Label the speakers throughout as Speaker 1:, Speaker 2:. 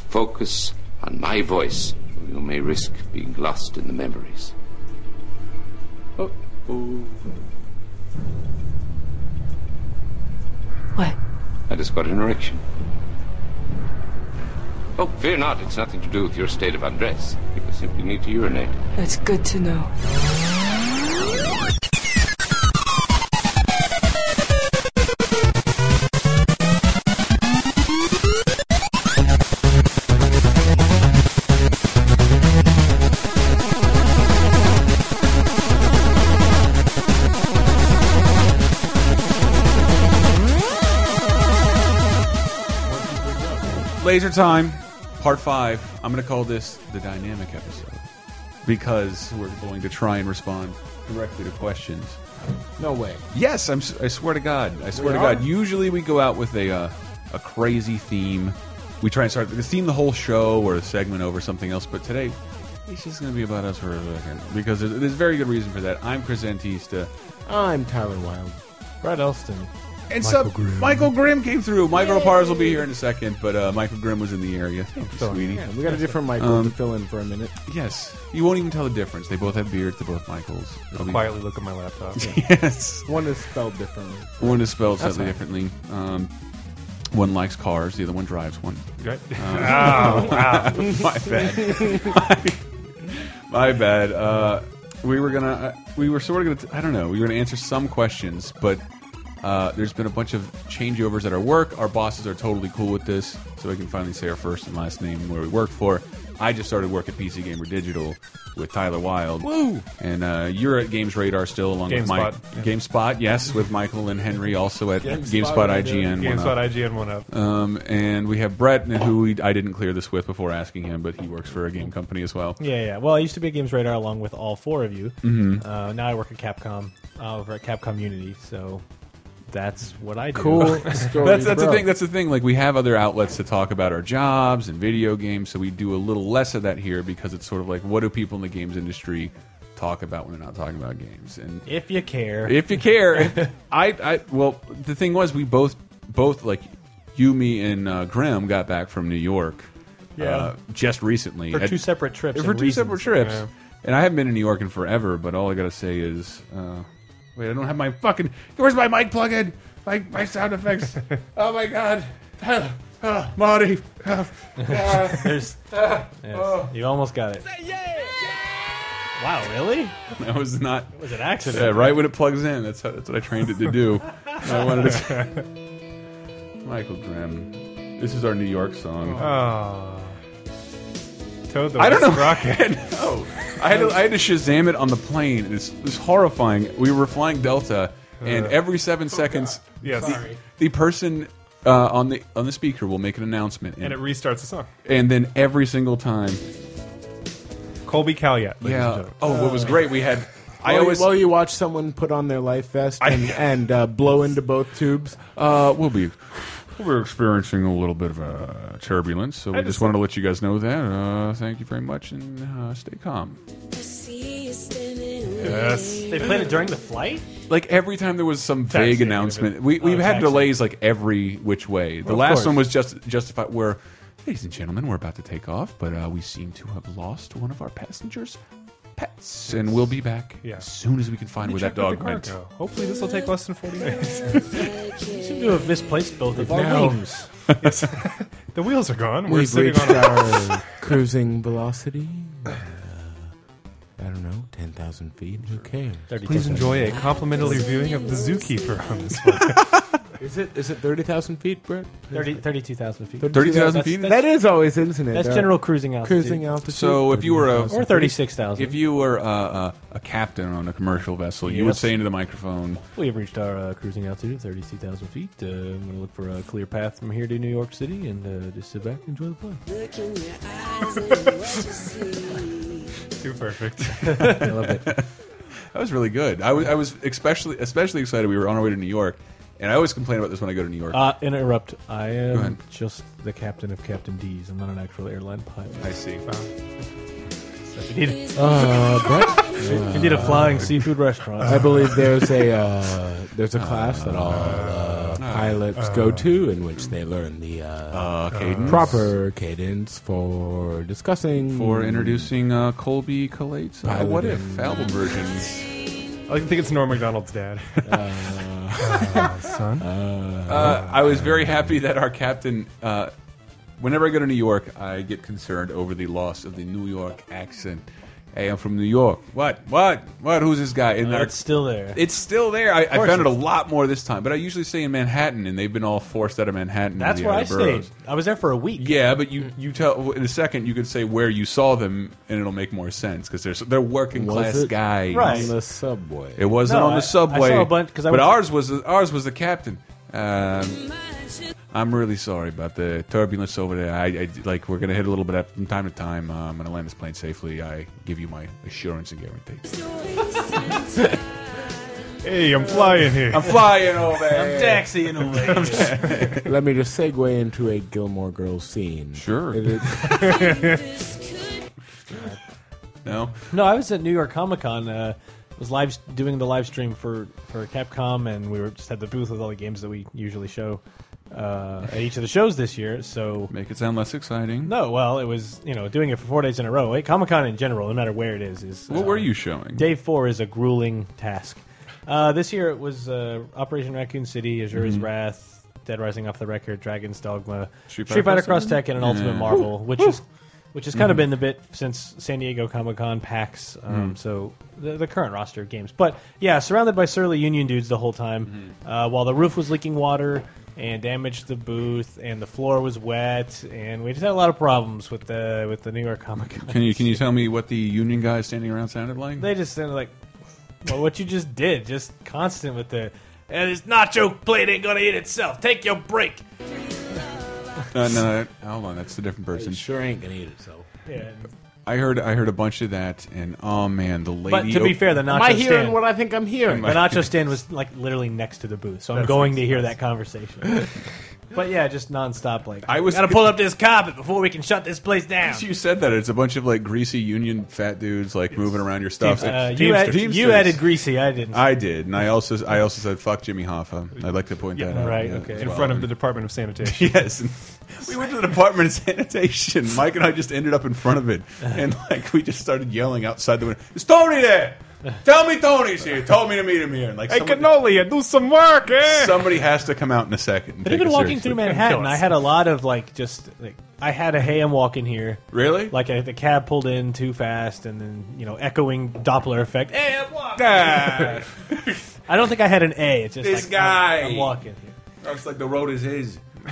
Speaker 1: Focus on my voice, or you may risk being lost in the memories. Oh, oh.
Speaker 2: What?
Speaker 1: I just got an erection. Oh, fear not. It's nothing to do with your state of undress. You simply need to urinate.
Speaker 2: That's good to know.
Speaker 3: Laser time, part five. I'm going to call this the dynamic episode because we're going to try and respond directly to questions.
Speaker 4: No way.
Speaker 3: Yes, I'm, s- I swear to God. I swear to
Speaker 4: We are?
Speaker 3: God. Usually we go out with a uh, a crazy theme. We try and start the theme the whole show or a segment over something else, but today it's just going to be about us for a second because there's, there's very good reason for that. I'm Chris Antista.
Speaker 4: I'm Tyler Wilde. Brad Elston.
Speaker 3: And
Speaker 4: Michael
Speaker 3: some-
Speaker 4: Grimm.
Speaker 3: Michael Grimm came through. Michael Pars will be here in a second, but uh, Michael Grimm was in the area. Thank you,
Speaker 4: So,
Speaker 3: sweetie.
Speaker 4: yeah, we got a different Michael
Speaker 3: Um,
Speaker 4: to fill in for a minute.
Speaker 3: Yes, you won't even tell the difference. They both have beards. They're both Michaels. I'll be-
Speaker 5: quietly look at my laptop.
Speaker 3: Yes,
Speaker 4: One is spelled differently.
Speaker 3: one is spelled slightly differently. Um, one likes cars. The other one drives one. Um,
Speaker 5: Right?
Speaker 3: My bad. My bad. Uh, we were gonna. Uh, we were sort of gonna. I don't know. We were gonna answer some questions, but uh, there's been a bunch of changeovers at our work. Our bosses are totally cool with this, so we can finally say our first and last name and where we work for. I just started work at PC Gamer Digital with Tyler Wild. Woo! And uh, you're at Games Radar still, along with Mike.
Speaker 5: GameSpot, yeah.
Speaker 3: GameSpot, yes, with Michael and Henry, also at GameSpot,
Speaker 4: GameSpot,
Speaker 3: IGN. one up.
Speaker 5: GameSpot IGN one up.
Speaker 3: Um, and we have Brett, who we, I didn't clear this with before asking him, but he works for a game company as well.
Speaker 6: Yeah, yeah. Well, I used to be at Games Radar along with all four of you. Mm-hmm. Uh, now I work at Capcom uh, over at Capcom Unity, so that's what I do.
Speaker 4: Cool story.
Speaker 3: That's that's the
Speaker 4: bro.
Speaker 3: thing. That's the thing. Like we have other outlets to talk about our jobs and video games, so we do a little less of that here because it's sort of like what do people in the games industry talk about when they're not talking about games? And
Speaker 6: If you care.
Speaker 3: if you care, I, I well, the thing was we both both like you, me, and uh, Graham got back from New York.
Speaker 6: Yeah.
Speaker 3: Uh, just recently
Speaker 6: for
Speaker 3: At-
Speaker 6: two separate trips.
Speaker 3: for
Speaker 6: and
Speaker 3: two
Speaker 6: reasons.
Speaker 3: separate trips.
Speaker 5: Yeah.
Speaker 3: And I haven't been in New York in forever, but all I gotta say is, uh, wait, I don't have my fucking. Where's my mic plug-in? My my sound effects. oh my god, Ah, ah, Marty. Ah, ah.
Speaker 6: There's- yes, You almost got it. Wow, really?
Speaker 3: that was not.
Speaker 6: It was an
Speaker 3: Yeah,
Speaker 6: accident.
Speaker 3: right when it plugs in, that's how, that's what I trained it to do. I wanted to. Michael Grimm. This is our New York song.
Speaker 5: Oh. Toad the
Speaker 3: I don't know.
Speaker 5: West Rocket.
Speaker 3: no. Oh, I had, to, I had to Shazam it on the plane. It's, it's horrifying. We were flying Delta, and
Speaker 5: Uh.
Speaker 3: every seven
Speaker 5: Oh,
Speaker 3: seconds,
Speaker 5: Yes.
Speaker 3: the, the person uh, on the on the speaker will make an announcement, and,
Speaker 5: And it restarts the song.
Speaker 3: and then every single time,
Speaker 5: Colby Calyat. ladies and
Speaker 3: yeah.
Speaker 5: gentlemen.
Speaker 3: Oh, what was great? We had. I
Speaker 4: While,
Speaker 3: always.
Speaker 4: while you watch someone put on their life vest and, and uh, blow into both tubes,
Speaker 3: Uh, we'll be. We're experiencing a little bit of uh, turbulence, so we just, wanted to let you guys know that. Uh, thank you very much, and uh, stay calm.
Speaker 5: Yes.
Speaker 6: They played it during the flight?
Speaker 3: Like every time there was some
Speaker 5: Taxi,
Speaker 3: vague
Speaker 5: even.
Speaker 3: announcement, we
Speaker 6: Oh,
Speaker 3: we've had
Speaker 6: taxi.
Speaker 3: delays like every which way. The
Speaker 4: of
Speaker 3: last
Speaker 4: course.
Speaker 3: one was just justified where, ladies and gentlemen, we're about to take off, but uh, we seem to have lost one of our passengers' pets, and we'll be back
Speaker 5: Yeah.
Speaker 3: as soon as we can find where that
Speaker 5: Check with
Speaker 3: dog
Speaker 5: the
Speaker 3: went.
Speaker 5: cargo. Hopefully this will take less than 40 minutes.
Speaker 6: You seem to have misplaced both of them.
Speaker 4: Nouns.
Speaker 5: yes. the wheels are gone. We're
Speaker 4: we've
Speaker 5: sitting
Speaker 4: reached
Speaker 5: on a...
Speaker 4: our cruising velocity. Uh, I don't know, 10,000 feet. Who cares?
Speaker 5: Please enjoy a complimentary viewing of the zookeeper on this one.
Speaker 4: Is it is it 30,000 feet, Brett?
Speaker 6: 30 32,000 feet.
Speaker 3: 32,000 feet?
Speaker 4: That is always, isn't it?
Speaker 6: That's
Speaker 4: Uh,
Speaker 6: general cruising altitude.
Speaker 4: cruising altitude.
Speaker 3: So if you were a
Speaker 6: Or 36,000.
Speaker 3: if you were uh, uh, a captain on a commercial vessel, you would
Speaker 6: Yes.
Speaker 3: say into the microphone,
Speaker 6: We have reached our uh, cruising altitude of 32,000 feet. Uh, I'm going to look for a clear path from here to New York City and uh, just sit back and enjoy the flight.
Speaker 5: Too perfect.
Speaker 3: That was really good. I was, I was especially especially excited. We were on our way to New York, and I always complain about this when I go to New York.
Speaker 6: Uh, interrupt. I
Speaker 3: ahead.
Speaker 6: am just the captain of Captain D's. I'm not an actual airline pilot.
Speaker 3: I see.
Speaker 5: Uh,
Speaker 6: We need,
Speaker 4: Uh, Brett,
Speaker 6: we need a flying seafood restaurant.
Speaker 4: I believe there's a uh, there's a class that all uh, pilots go to, in which they learn the uh,
Speaker 3: Uh, cadence.
Speaker 4: proper cadence for discussing.
Speaker 3: For introducing uh, Colby Collates. Uh, what if fallible versions?
Speaker 5: I think it's Norm Macdonald's dad. Uh, son?
Speaker 3: Uh, I was very happy that our captain. Uh, whenever I go to New York, I get concerned over the loss of the New York accent. Hey, I'm from New York. What? What? What? Who's this guy? And
Speaker 6: Uh,
Speaker 3: our-
Speaker 6: it's still there.
Speaker 3: it's still there. I, I found it a lot more this time, but I usually stay in Manhattan, and they've been all forced out of Manhattan. to
Speaker 6: That's
Speaker 3: the
Speaker 6: where I
Speaker 3: other boroughs.
Speaker 6: stayed. I was there for a week.
Speaker 3: Yeah, but you you tell in a second you could say where you saw them, and it'll make more sense because they're they're working
Speaker 4: Was
Speaker 3: class
Speaker 4: it?
Speaker 3: guys.
Speaker 6: Right.
Speaker 4: on the subway.
Speaker 3: It wasn't
Speaker 6: No,
Speaker 3: on the
Speaker 6: I-
Speaker 3: subway.
Speaker 6: I saw a bunch- 'cause I
Speaker 3: but
Speaker 6: went to-
Speaker 3: ours was ours was the captain. Um, I'm really sorry about the turbulence over there. I, I like we're gonna hit a little bit up from time to time. Uh, I'm gonna land this plane safely. I give you my assurance and guarantee.
Speaker 5: Hey, I'm flying here.
Speaker 3: I'm flying over. there.
Speaker 6: Taxi in a way.
Speaker 4: Let me just segue into a Gilmore Girls scene.
Speaker 3: Sure.
Speaker 4: It is-
Speaker 3: No.
Speaker 6: No, I was at New York Comic Con. Uh, was live doing the live stream for for Capcom, and we were just at the booth with all the games that we usually show uh, at each of the shows this year. So
Speaker 3: Make it sound less exciting.
Speaker 6: no, well, it was you know doing it for four days in a row. Comic Con in general, no matter where it is, is
Speaker 3: What
Speaker 6: uh,
Speaker 3: were you showing?
Speaker 6: Day four is a grueling task. Uh, this year it was uh, Operation Raccoon City, Azura's Wrath, Dead Rising off the record, Dragon's Dogma,
Speaker 3: Street
Speaker 6: Street,
Speaker 3: Fighter
Speaker 6: Fighter
Speaker 3: Cross
Speaker 6: Cross Tekken, and Ultimate Marvel, which is which has kind of been the bit since San Diego Comic Con PAX. Um, So the, the current roster of games, but yeah, surrounded by surly Union dudes the whole time, uh, while the roof was leaking water. And damaged the booth, and the floor was wet, and we just had a lot of problems with the with the New York Comic Con.
Speaker 3: Can you can you tell me what the union guys standing around sounded like?
Speaker 6: They just sounded like, well, what you just did, just constant with the, and this nacho plate ain't gonna eat itself. Take your break.
Speaker 3: no, Uh, no, no, hold on, that's a different person.
Speaker 4: it sure ain't gonna eat itself.
Speaker 6: Yeah.
Speaker 3: I heard I heard a bunch of that, and oh man, the lady.
Speaker 6: But to be
Speaker 3: op-
Speaker 6: fair, the nacho
Speaker 4: Am I hearing
Speaker 6: stand,
Speaker 4: what I think I'm hearing?
Speaker 6: the nacho stand was like literally next to the booth, so I'm going to hear that conversation. but yeah, just nonstop like
Speaker 3: I was
Speaker 6: gotta pull up this carpet before we can shut this place down.
Speaker 3: Since you said that, it's a bunch of like greasy union fat dudes like moving around your stuff.
Speaker 6: Uh,
Speaker 3: It's
Speaker 6: you, add-
Speaker 3: Teamsters.
Speaker 6: you added greasy, I didn't.
Speaker 3: I did, and I also I also said fuck Jimmy Hoffa. I'd like to point that out.
Speaker 6: right,
Speaker 3: yeah,
Speaker 6: okay.
Speaker 3: as
Speaker 5: in
Speaker 3: well.
Speaker 5: front of the Department of Sanitation.
Speaker 3: yes. and We went to the Department of Sanitation. Mike and I just ended up in front of it, and like we just started yelling outside the window. Is Tony there? Tell me Tony's here. Told me to meet him here. And like
Speaker 5: Hey,
Speaker 3: someone-
Speaker 5: Canolia, do some work, eh?
Speaker 3: somebody has to come out in a second. and
Speaker 6: but even
Speaker 3: take it
Speaker 6: walking
Speaker 3: seriously.
Speaker 6: through Manhattan,
Speaker 5: Kill
Speaker 6: I
Speaker 5: us.
Speaker 6: had a lot of like just like I had a hey, I'm walking here.
Speaker 3: Really?
Speaker 6: like a, the cab pulled in too fast and then you know echoing doppler effect hey i'm walking
Speaker 3: Ah.
Speaker 6: i don't think i had an a it's just
Speaker 3: This
Speaker 6: like, I'm-
Speaker 3: guy.
Speaker 6: i'm, walking here
Speaker 3: Looks like the road is his.
Speaker 6: you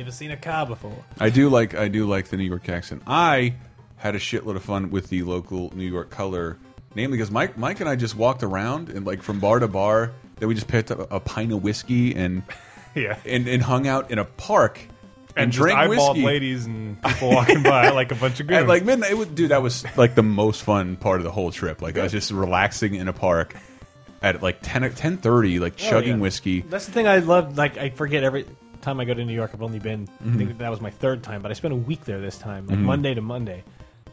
Speaker 6: ever seen a car before
Speaker 3: I do like I do like the New York accent. I had a shitload of fun with the local New York color, namely because Mike Mike and I just walked around and like from bar to bar. Then we just picked up a pint of whiskey and
Speaker 5: Yeah.
Speaker 3: and, and hung out in a park and,
Speaker 5: And just
Speaker 3: drank
Speaker 5: eyeballed
Speaker 3: whiskey.
Speaker 5: ladies and people walking by like a bunch of
Speaker 3: At
Speaker 5: goons.
Speaker 3: like midnight, it was, dude, that was like the most fun part of the whole trip. Like I was just relaxing in a park at like 10, or 10.30, like chugging
Speaker 6: yeah.
Speaker 3: whiskey.
Speaker 6: that's the thing i love like i forget every time i go to new york i've only been i
Speaker 3: Mm-hmm.
Speaker 6: think that was my third time but i spent a week there this time like monday to monday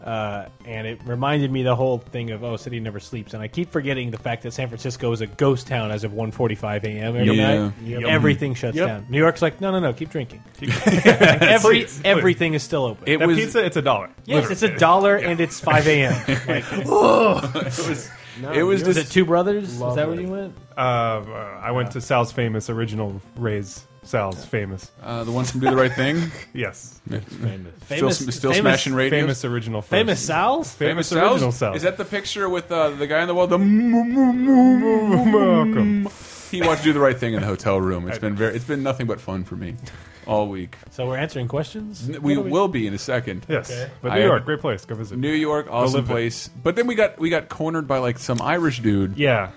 Speaker 6: uh, and it reminded me the whole thing of oh city never sleeps and i keep forgetting the fact that san francisco is a ghost town as of 1.45 a.m every
Speaker 3: Yeah.
Speaker 6: night
Speaker 5: Yep.
Speaker 6: everything shuts
Speaker 5: Yep.
Speaker 6: down new york's like no no no keep drinking every everything is still open.
Speaker 3: It
Speaker 5: that
Speaker 3: was
Speaker 5: pizza, it's a dollar.
Speaker 6: yes, it's a dollar and it's five a.m. Like,
Speaker 3: it was
Speaker 6: was
Speaker 3: just
Speaker 6: it Two Brothers? Is that where
Speaker 4: Lovely.
Speaker 6: you went?
Speaker 5: Uh, uh, I went to Sal's Famous, original Ray's Sal's Famous.
Speaker 3: uh, the ones from Do the Right Thing.
Speaker 5: Yes.
Speaker 6: Famous,
Speaker 3: still still
Speaker 6: famous,
Speaker 3: smashing radios.
Speaker 5: Famous original first.
Speaker 6: famous Sal's.
Speaker 5: Famous
Speaker 3: Cells?
Speaker 5: original Sal.
Speaker 3: Is that the picture with uh, the guy in the wall? The Malcolm. He wants to do the right thing in the hotel room. It's been very. It's been nothing but fun for me all week.
Speaker 6: So we're answering questions.
Speaker 3: We will be in a second.
Speaker 5: Yes. But
Speaker 3: I
Speaker 5: New
Speaker 3: have-
Speaker 5: York, great place. Go visit.
Speaker 3: New York, awesome
Speaker 5: live it.
Speaker 3: place. But then we got we got cornered by like some Irish dude
Speaker 5: yeah.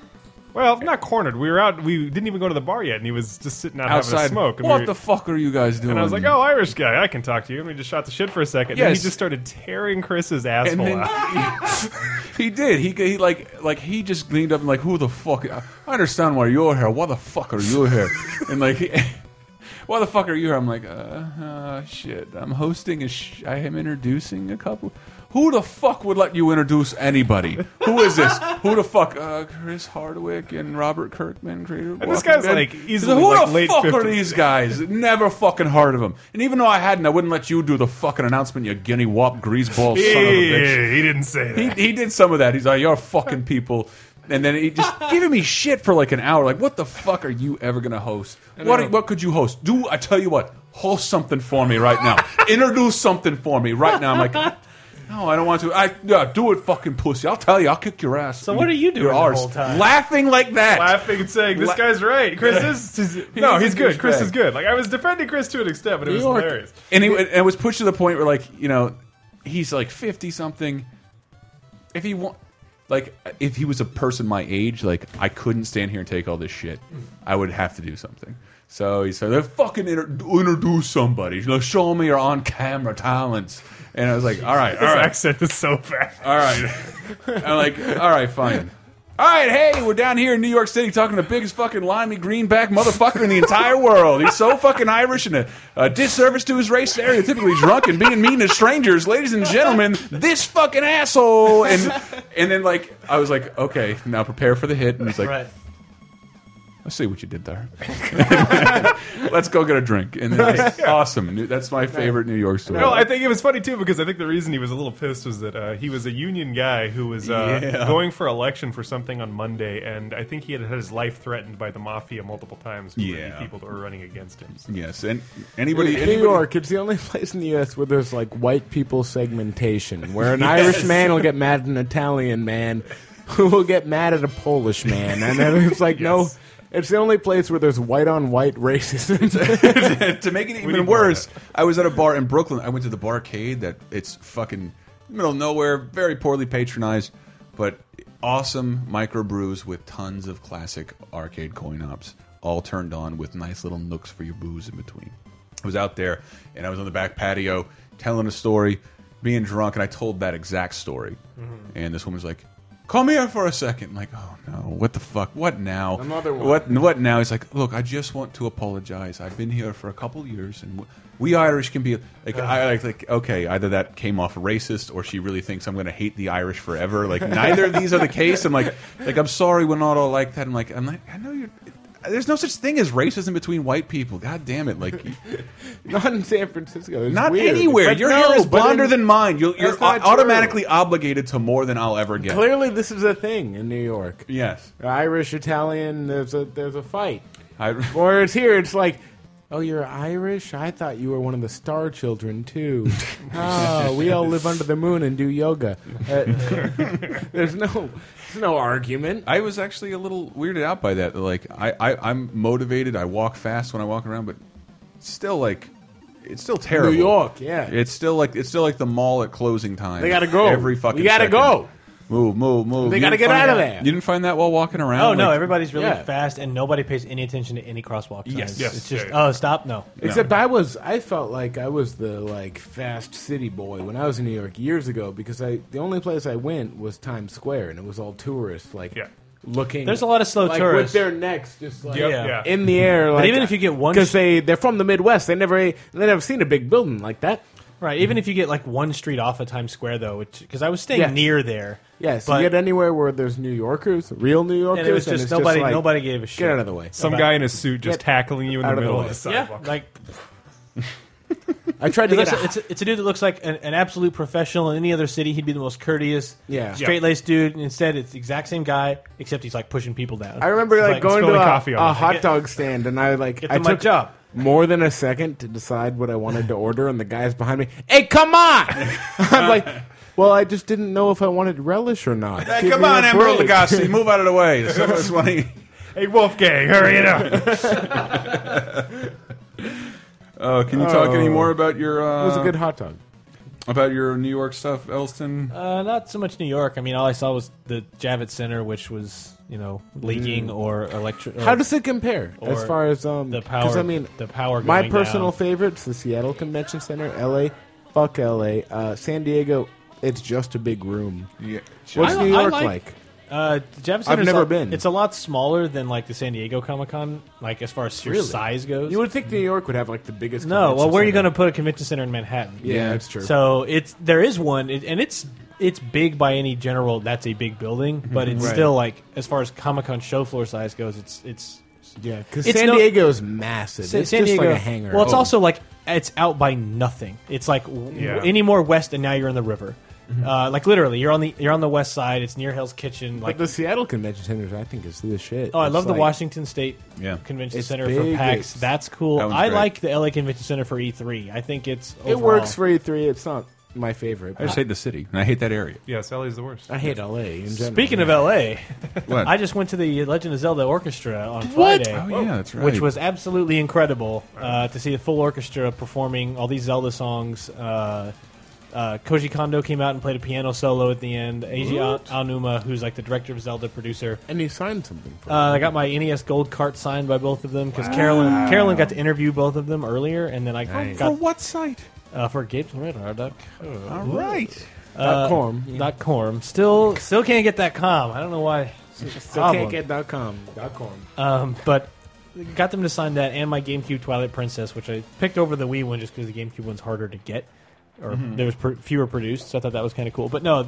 Speaker 5: Well, not cornered. We were out. We didn't even go to the bar yet, and he was just sitting out having a
Speaker 3: outside.
Speaker 5: smoke. and we
Speaker 3: what
Speaker 5: were-
Speaker 3: the fuck are you guys doing?
Speaker 5: And I was like, "Oh, Irish guy, I can talk to you." And we just shot the shit for a second. And then he
Speaker 3: Yes.
Speaker 5: just started tearing Chris's asshole
Speaker 3: And then
Speaker 5: out.
Speaker 3: he did. He, he like like he just leaned up and like, who the fuck? I understand why you're here. Why the fuck are you here? And like, he- why the fuck are you here? I'm like, uh, uh shit. I'm hosting a. Sh I am introducing a couple. Who the fuck would let you introduce anybody? Who is this? Who the fuck? Uh, Chris Hardwick and Robert Kirkman, creator. of
Speaker 5: And this
Speaker 3: Walking
Speaker 5: guy's,
Speaker 3: Dead.
Speaker 5: like,
Speaker 3: He's
Speaker 5: easily,
Speaker 3: who
Speaker 5: like,
Speaker 3: the
Speaker 5: late
Speaker 3: fuck are
Speaker 5: 50s.
Speaker 3: these guys? Never fucking heard of them. And even though I hadn't, I wouldn't let you do the fucking announcement. You guinea wop greaseball son of a bitch
Speaker 5: he didn't say that.
Speaker 3: he, he did some of that. He's like, "You're fucking people," and then he just giving me shit for like an hour. Like, what the fuck are you ever gonna host? What are- what could you host? Do I tell you what? Host something for me right now. Introduce something for me right now. I'm like, no, I don't want to. I yeah, do it, fucking pussy. I'll tell you. I'll kick your ass.
Speaker 6: So what are you doing
Speaker 3: Your
Speaker 6: the
Speaker 3: arse.
Speaker 6: whole time?
Speaker 3: Laughing like that.
Speaker 5: laughing and saying, "This
Speaker 3: La-
Speaker 5: guy's right. Chris is is- no,
Speaker 3: is
Speaker 5: he's
Speaker 3: a
Speaker 5: good. Chris
Speaker 3: douchebag.
Speaker 5: is good." Like I was defending Chris to an extent, but it was
Speaker 4: York.
Speaker 5: hilarious.
Speaker 3: and he, and it was pushed to the point where like you know he's like 50 something if he want like if he was a person my age like i couldn't stand here and take all this shit i would have to do something so he said fucking inter- introduce somebody you know, show me your on-camera talents and i was like all right all
Speaker 5: His
Speaker 3: right
Speaker 5: accent is so bad.
Speaker 3: all right. I'm like, all right, fine. All right, hey, we're down here in New York City talking to the biggest fucking limey greenback motherfucker in the entire world. He's so fucking Irish and a, a disservice to his race, stereotypically drunk and being mean to strangers. Ladies and gentlemen, this fucking asshole. And and then like I was like, okay, now prepare for the hit. And he's like,
Speaker 6: Right.
Speaker 3: I see what you did there. Let's go get a drink. And then like, awesome. New- That's my favorite New York story.
Speaker 5: No, I think it was funny too because I think the reason he was a little pissed was that uh, he was a union guy who was uh,
Speaker 3: Yeah.
Speaker 5: going for election for something on Monday, and I think he had had his life threatened by the mafia multiple times. who were the
Speaker 3: Yeah.
Speaker 5: people that were running against him. So.
Speaker 3: yes, and anybody,
Speaker 4: New
Speaker 3: anybody
Speaker 4: York, it's the only place in the U.S. where there's like white people segmentation, where an Irish man will get mad at an Italian man, who will get mad at a Polish man, and then it's like no, it's the only place where there's white on white racism.
Speaker 3: to make it
Speaker 5: need
Speaker 3: even
Speaker 5: more of
Speaker 3: worse, I was at a bar in Brooklyn. I went to the barcade that it's fucking middle of nowhere, very poorly patronized, but awesome microbrews with tons of classic arcade coin ops, all turned on with nice little nooks for your booze in between. I was out there and I was on the back patio telling a story, being drunk, and I told that exact story.
Speaker 4: Mm-hmm.
Speaker 3: And this woman's like, Come here for a second. I'm like, oh no, what the fuck? What now?
Speaker 4: Another one.
Speaker 3: What what now? He's like, look, I just want to apologize. I've been here for a couple years, and w- we Irish can be like, I like, like, okay, either that came off racist, or she really thinks I'm going to hate the Irish forever. Like, neither of these are the case. I'm like, like, I'm sorry, we're not all like that. I'm like, I'm like, I know you're. There's no such thing as racism between white people. God damn it! Like,
Speaker 4: not in San Francisco. It's
Speaker 3: not
Speaker 4: weird.
Speaker 3: anywhere.
Speaker 4: But
Speaker 3: Your
Speaker 4: no,
Speaker 3: hair is
Speaker 4: but in-
Speaker 3: blonder than mine. You'll, you're
Speaker 4: That's not true.
Speaker 3: automatically obligated to more than I'll ever get.
Speaker 4: Clearly, this is a thing in New York.
Speaker 3: Yes,
Speaker 4: Irish, Italian, there's a there's a fight.
Speaker 3: I,
Speaker 4: Or it's here, it's like, oh, you're Irish? I thought you were one of the star children, too. oh, we all live under the moon and do yoga. Uh, there's no there's no argument.
Speaker 3: I was actually a little weirded out by that. Like I, I I'm motivated. I walk fast when I walk around, but still like it's still terrible.
Speaker 4: New York, yeah.
Speaker 3: It's still like it's still like the mall at closing time.
Speaker 4: They gotta go.
Speaker 3: Every fucking
Speaker 4: We gotta
Speaker 3: second.
Speaker 4: go.
Speaker 3: Move, move, move.
Speaker 4: They
Speaker 3: You
Speaker 4: gotta
Speaker 3: didn't
Speaker 4: get
Speaker 3: find
Speaker 4: out of
Speaker 3: that-
Speaker 4: there.
Speaker 3: You didn't find that while walking around?
Speaker 6: Oh no!
Speaker 3: Like,
Speaker 6: Everybody's really
Speaker 4: yeah.
Speaker 6: fast, and nobody pays any attention to any crosswalk signs.
Speaker 3: Yes. Yes.
Speaker 6: It's just
Speaker 5: Yeah, yeah.
Speaker 6: oh, stop! No,
Speaker 4: Except I was, I felt like I was the like fast city boy when I was in New York years ago because I the only place I went was Times Square and it was all tourists like
Speaker 5: Yeah.
Speaker 4: looking.
Speaker 6: There's a lot of slow
Speaker 4: like,
Speaker 6: tourists.
Speaker 4: with their necks just like
Speaker 5: Yep,
Speaker 6: Yeah.
Speaker 5: yeah.
Speaker 4: in the air. Like,
Speaker 6: even if you get one
Speaker 4: because
Speaker 6: sh-
Speaker 4: they they're from the Midwest, they never they never seen a big building like that.
Speaker 6: right? Even if you get like one street off of Times Square, though, which because I was staying
Speaker 4: Yes.
Speaker 6: near there.
Speaker 4: Yes,
Speaker 6: but
Speaker 4: you get anywhere where there's New Yorkers, real New Yorkers,
Speaker 6: and it was just
Speaker 4: it's
Speaker 6: nobody.
Speaker 4: like,
Speaker 6: nobody gave a shit.
Speaker 4: Get out of the way.
Speaker 5: Some
Speaker 6: About-
Speaker 5: guy in a suit just
Speaker 4: Get
Speaker 5: tackling you in
Speaker 4: out of
Speaker 5: the
Speaker 4: the
Speaker 5: middle
Speaker 4: way.
Speaker 5: of the
Speaker 6: Yeah,
Speaker 5: sidewalk.
Speaker 6: like
Speaker 4: I tried to
Speaker 6: it's,
Speaker 4: get.
Speaker 6: a,
Speaker 4: A,
Speaker 6: it's, a, it's a dude that looks like an, an absolute professional in any other city. He'd be the most courteous,
Speaker 4: Yeah.
Speaker 6: straight laced dude. And instead, it's the exact same guy, except he's like pushing people down.
Speaker 4: I remember like,
Speaker 6: Like,
Speaker 4: going
Speaker 5: spill
Speaker 4: to
Speaker 5: the
Speaker 4: a,
Speaker 5: coffee on
Speaker 4: a
Speaker 5: it.
Speaker 4: hot
Speaker 6: Get-
Speaker 4: dog stand, and I like
Speaker 6: Get
Speaker 4: I
Speaker 6: to my
Speaker 4: took
Speaker 6: job.
Speaker 4: more than a second to decide what I wanted to order, and the guys behind me, hey, come on! I'm like, well, I just didn't know if I wanted relish or not.
Speaker 3: Hey,
Speaker 4: Give
Speaker 3: come
Speaker 4: me a
Speaker 3: on, Emerald
Speaker 4: break.
Speaker 3: Lagasse, move out of the way. Someone's wanting-
Speaker 5: hey, Wolfgang, hurry it up!
Speaker 3: Oh, can you talk any more about your uh,
Speaker 4: It was a good hot dog.
Speaker 3: about your New York stuff, Elston?
Speaker 6: Uh, not so much New York. I mean, all I saw was the Javits Center, which was you know leaking or electric.
Speaker 4: Mm. How does it compare as
Speaker 6: or
Speaker 4: far as um?
Speaker 6: the
Speaker 4: 'cause,
Speaker 6: power-
Speaker 4: I mean,
Speaker 6: the power
Speaker 4: My
Speaker 6: going
Speaker 4: personal
Speaker 6: down.
Speaker 4: favorite's the Seattle Convention Center, L.A. Fuck L.A. Uh, San Diego. It's just a big room.
Speaker 3: Yeah.
Speaker 4: What's
Speaker 6: I-
Speaker 4: New
Speaker 6: I
Speaker 4: York
Speaker 6: like-
Speaker 4: like?
Speaker 6: Uh, the Javits
Speaker 4: I've
Speaker 6: Center's
Speaker 4: never
Speaker 6: a lot-
Speaker 4: been.
Speaker 6: It's a lot smaller than like the San Diego Comic Con, like as far as your size goes.
Speaker 4: You would think New York would have like the biggest.
Speaker 6: no, well,
Speaker 4: convention
Speaker 6: where are you going
Speaker 4: center.
Speaker 6: to put a convention center in Manhattan?
Speaker 4: Yeah, that's true.
Speaker 6: So it's there is one, it, and it's it's big by any general. That's a big building, but it's
Speaker 4: Mm-hmm. Right.
Speaker 6: still like as far as Comic Con show floor size goes, it's it's
Speaker 4: yeah, because
Speaker 6: It's
Speaker 4: San
Speaker 6: no-
Speaker 4: Diego is massive.
Speaker 6: Sa-
Speaker 4: it's
Speaker 6: San
Speaker 4: just
Speaker 6: Diego.
Speaker 4: like a hangar.
Speaker 6: Well, it's
Speaker 4: Oh.
Speaker 6: also like it's out by nothing. It's like w-
Speaker 5: Yeah.
Speaker 6: any more west, and now you're in the river.
Speaker 4: Mm-hmm.
Speaker 6: Uh, like literally, you're on the you're on the west side. It's near Hell's Kitchen. Like
Speaker 4: But the Seattle Convention Center, I think, is the shit.
Speaker 6: Oh, I
Speaker 4: It's
Speaker 6: love the
Speaker 4: like-
Speaker 6: Washington State
Speaker 3: Yeah.
Speaker 6: Convention
Speaker 4: It's
Speaker 6: Center
Speaker 4: big,
Speaker 6: for PAX.
Speaker 4: it's-
Speaker 6: That's cool.
Speaker 3: That one's
Speaker 6: I
Speaker 3: great.
Speaker 6: like the LA Convention Center for E3. I think it's
Speaker 4: It
Speaker 6: overall-
Speaker 4: works for E three. It's not my favorite.
Speaker 3: I just
Speaker 4: but
Speaker 3: hate the city, and I hate that area.
Speaker 5: Yeah, Sally's the worst.
Speaker 4: I hate LA. In general.
Speaker 6: Speaking of LA,
Speaker 3: What?
Speaker 6: I just went to the Legend of Zelda Orchestra on
Speaker 4: What?
Speaker 6: Friday.
Speaker 3: oh yeah, that's right.
Speaker 6: Which was absolutely incredible uh, to see the full orchestra performing all these Zelda songs. Uh, uh, Koji Kondo came out and played a piano solo at the end. Eiji Ao- Aonuma, who's like the director of Zelda, producer,
Speaker 4: and he signed something for.
Speaker 6: Uh, I got my NES Gold cart signed by both of them because Carolyn Carolyn got to interview both of them earlier, and then I
Speaker 3: for
Speaker 6: got
Speaker 3: what site?
Speaker 6: uh, for GapesRadar.com.
Speaker 3: All right.
Speaker 4: dot com.
Speaker 6: Dot com. Still, still can't get that com. I don't know why.
Speaker 4: Still can't get dot com. Dot com.
Speaker 6: Um, but got them to sign that and my GameCube Twilight Princess, which I picked over the Wii one just because the GameCube one's harder to get, or there was pr- fewer produced, so I thought that was kind of cool. But no,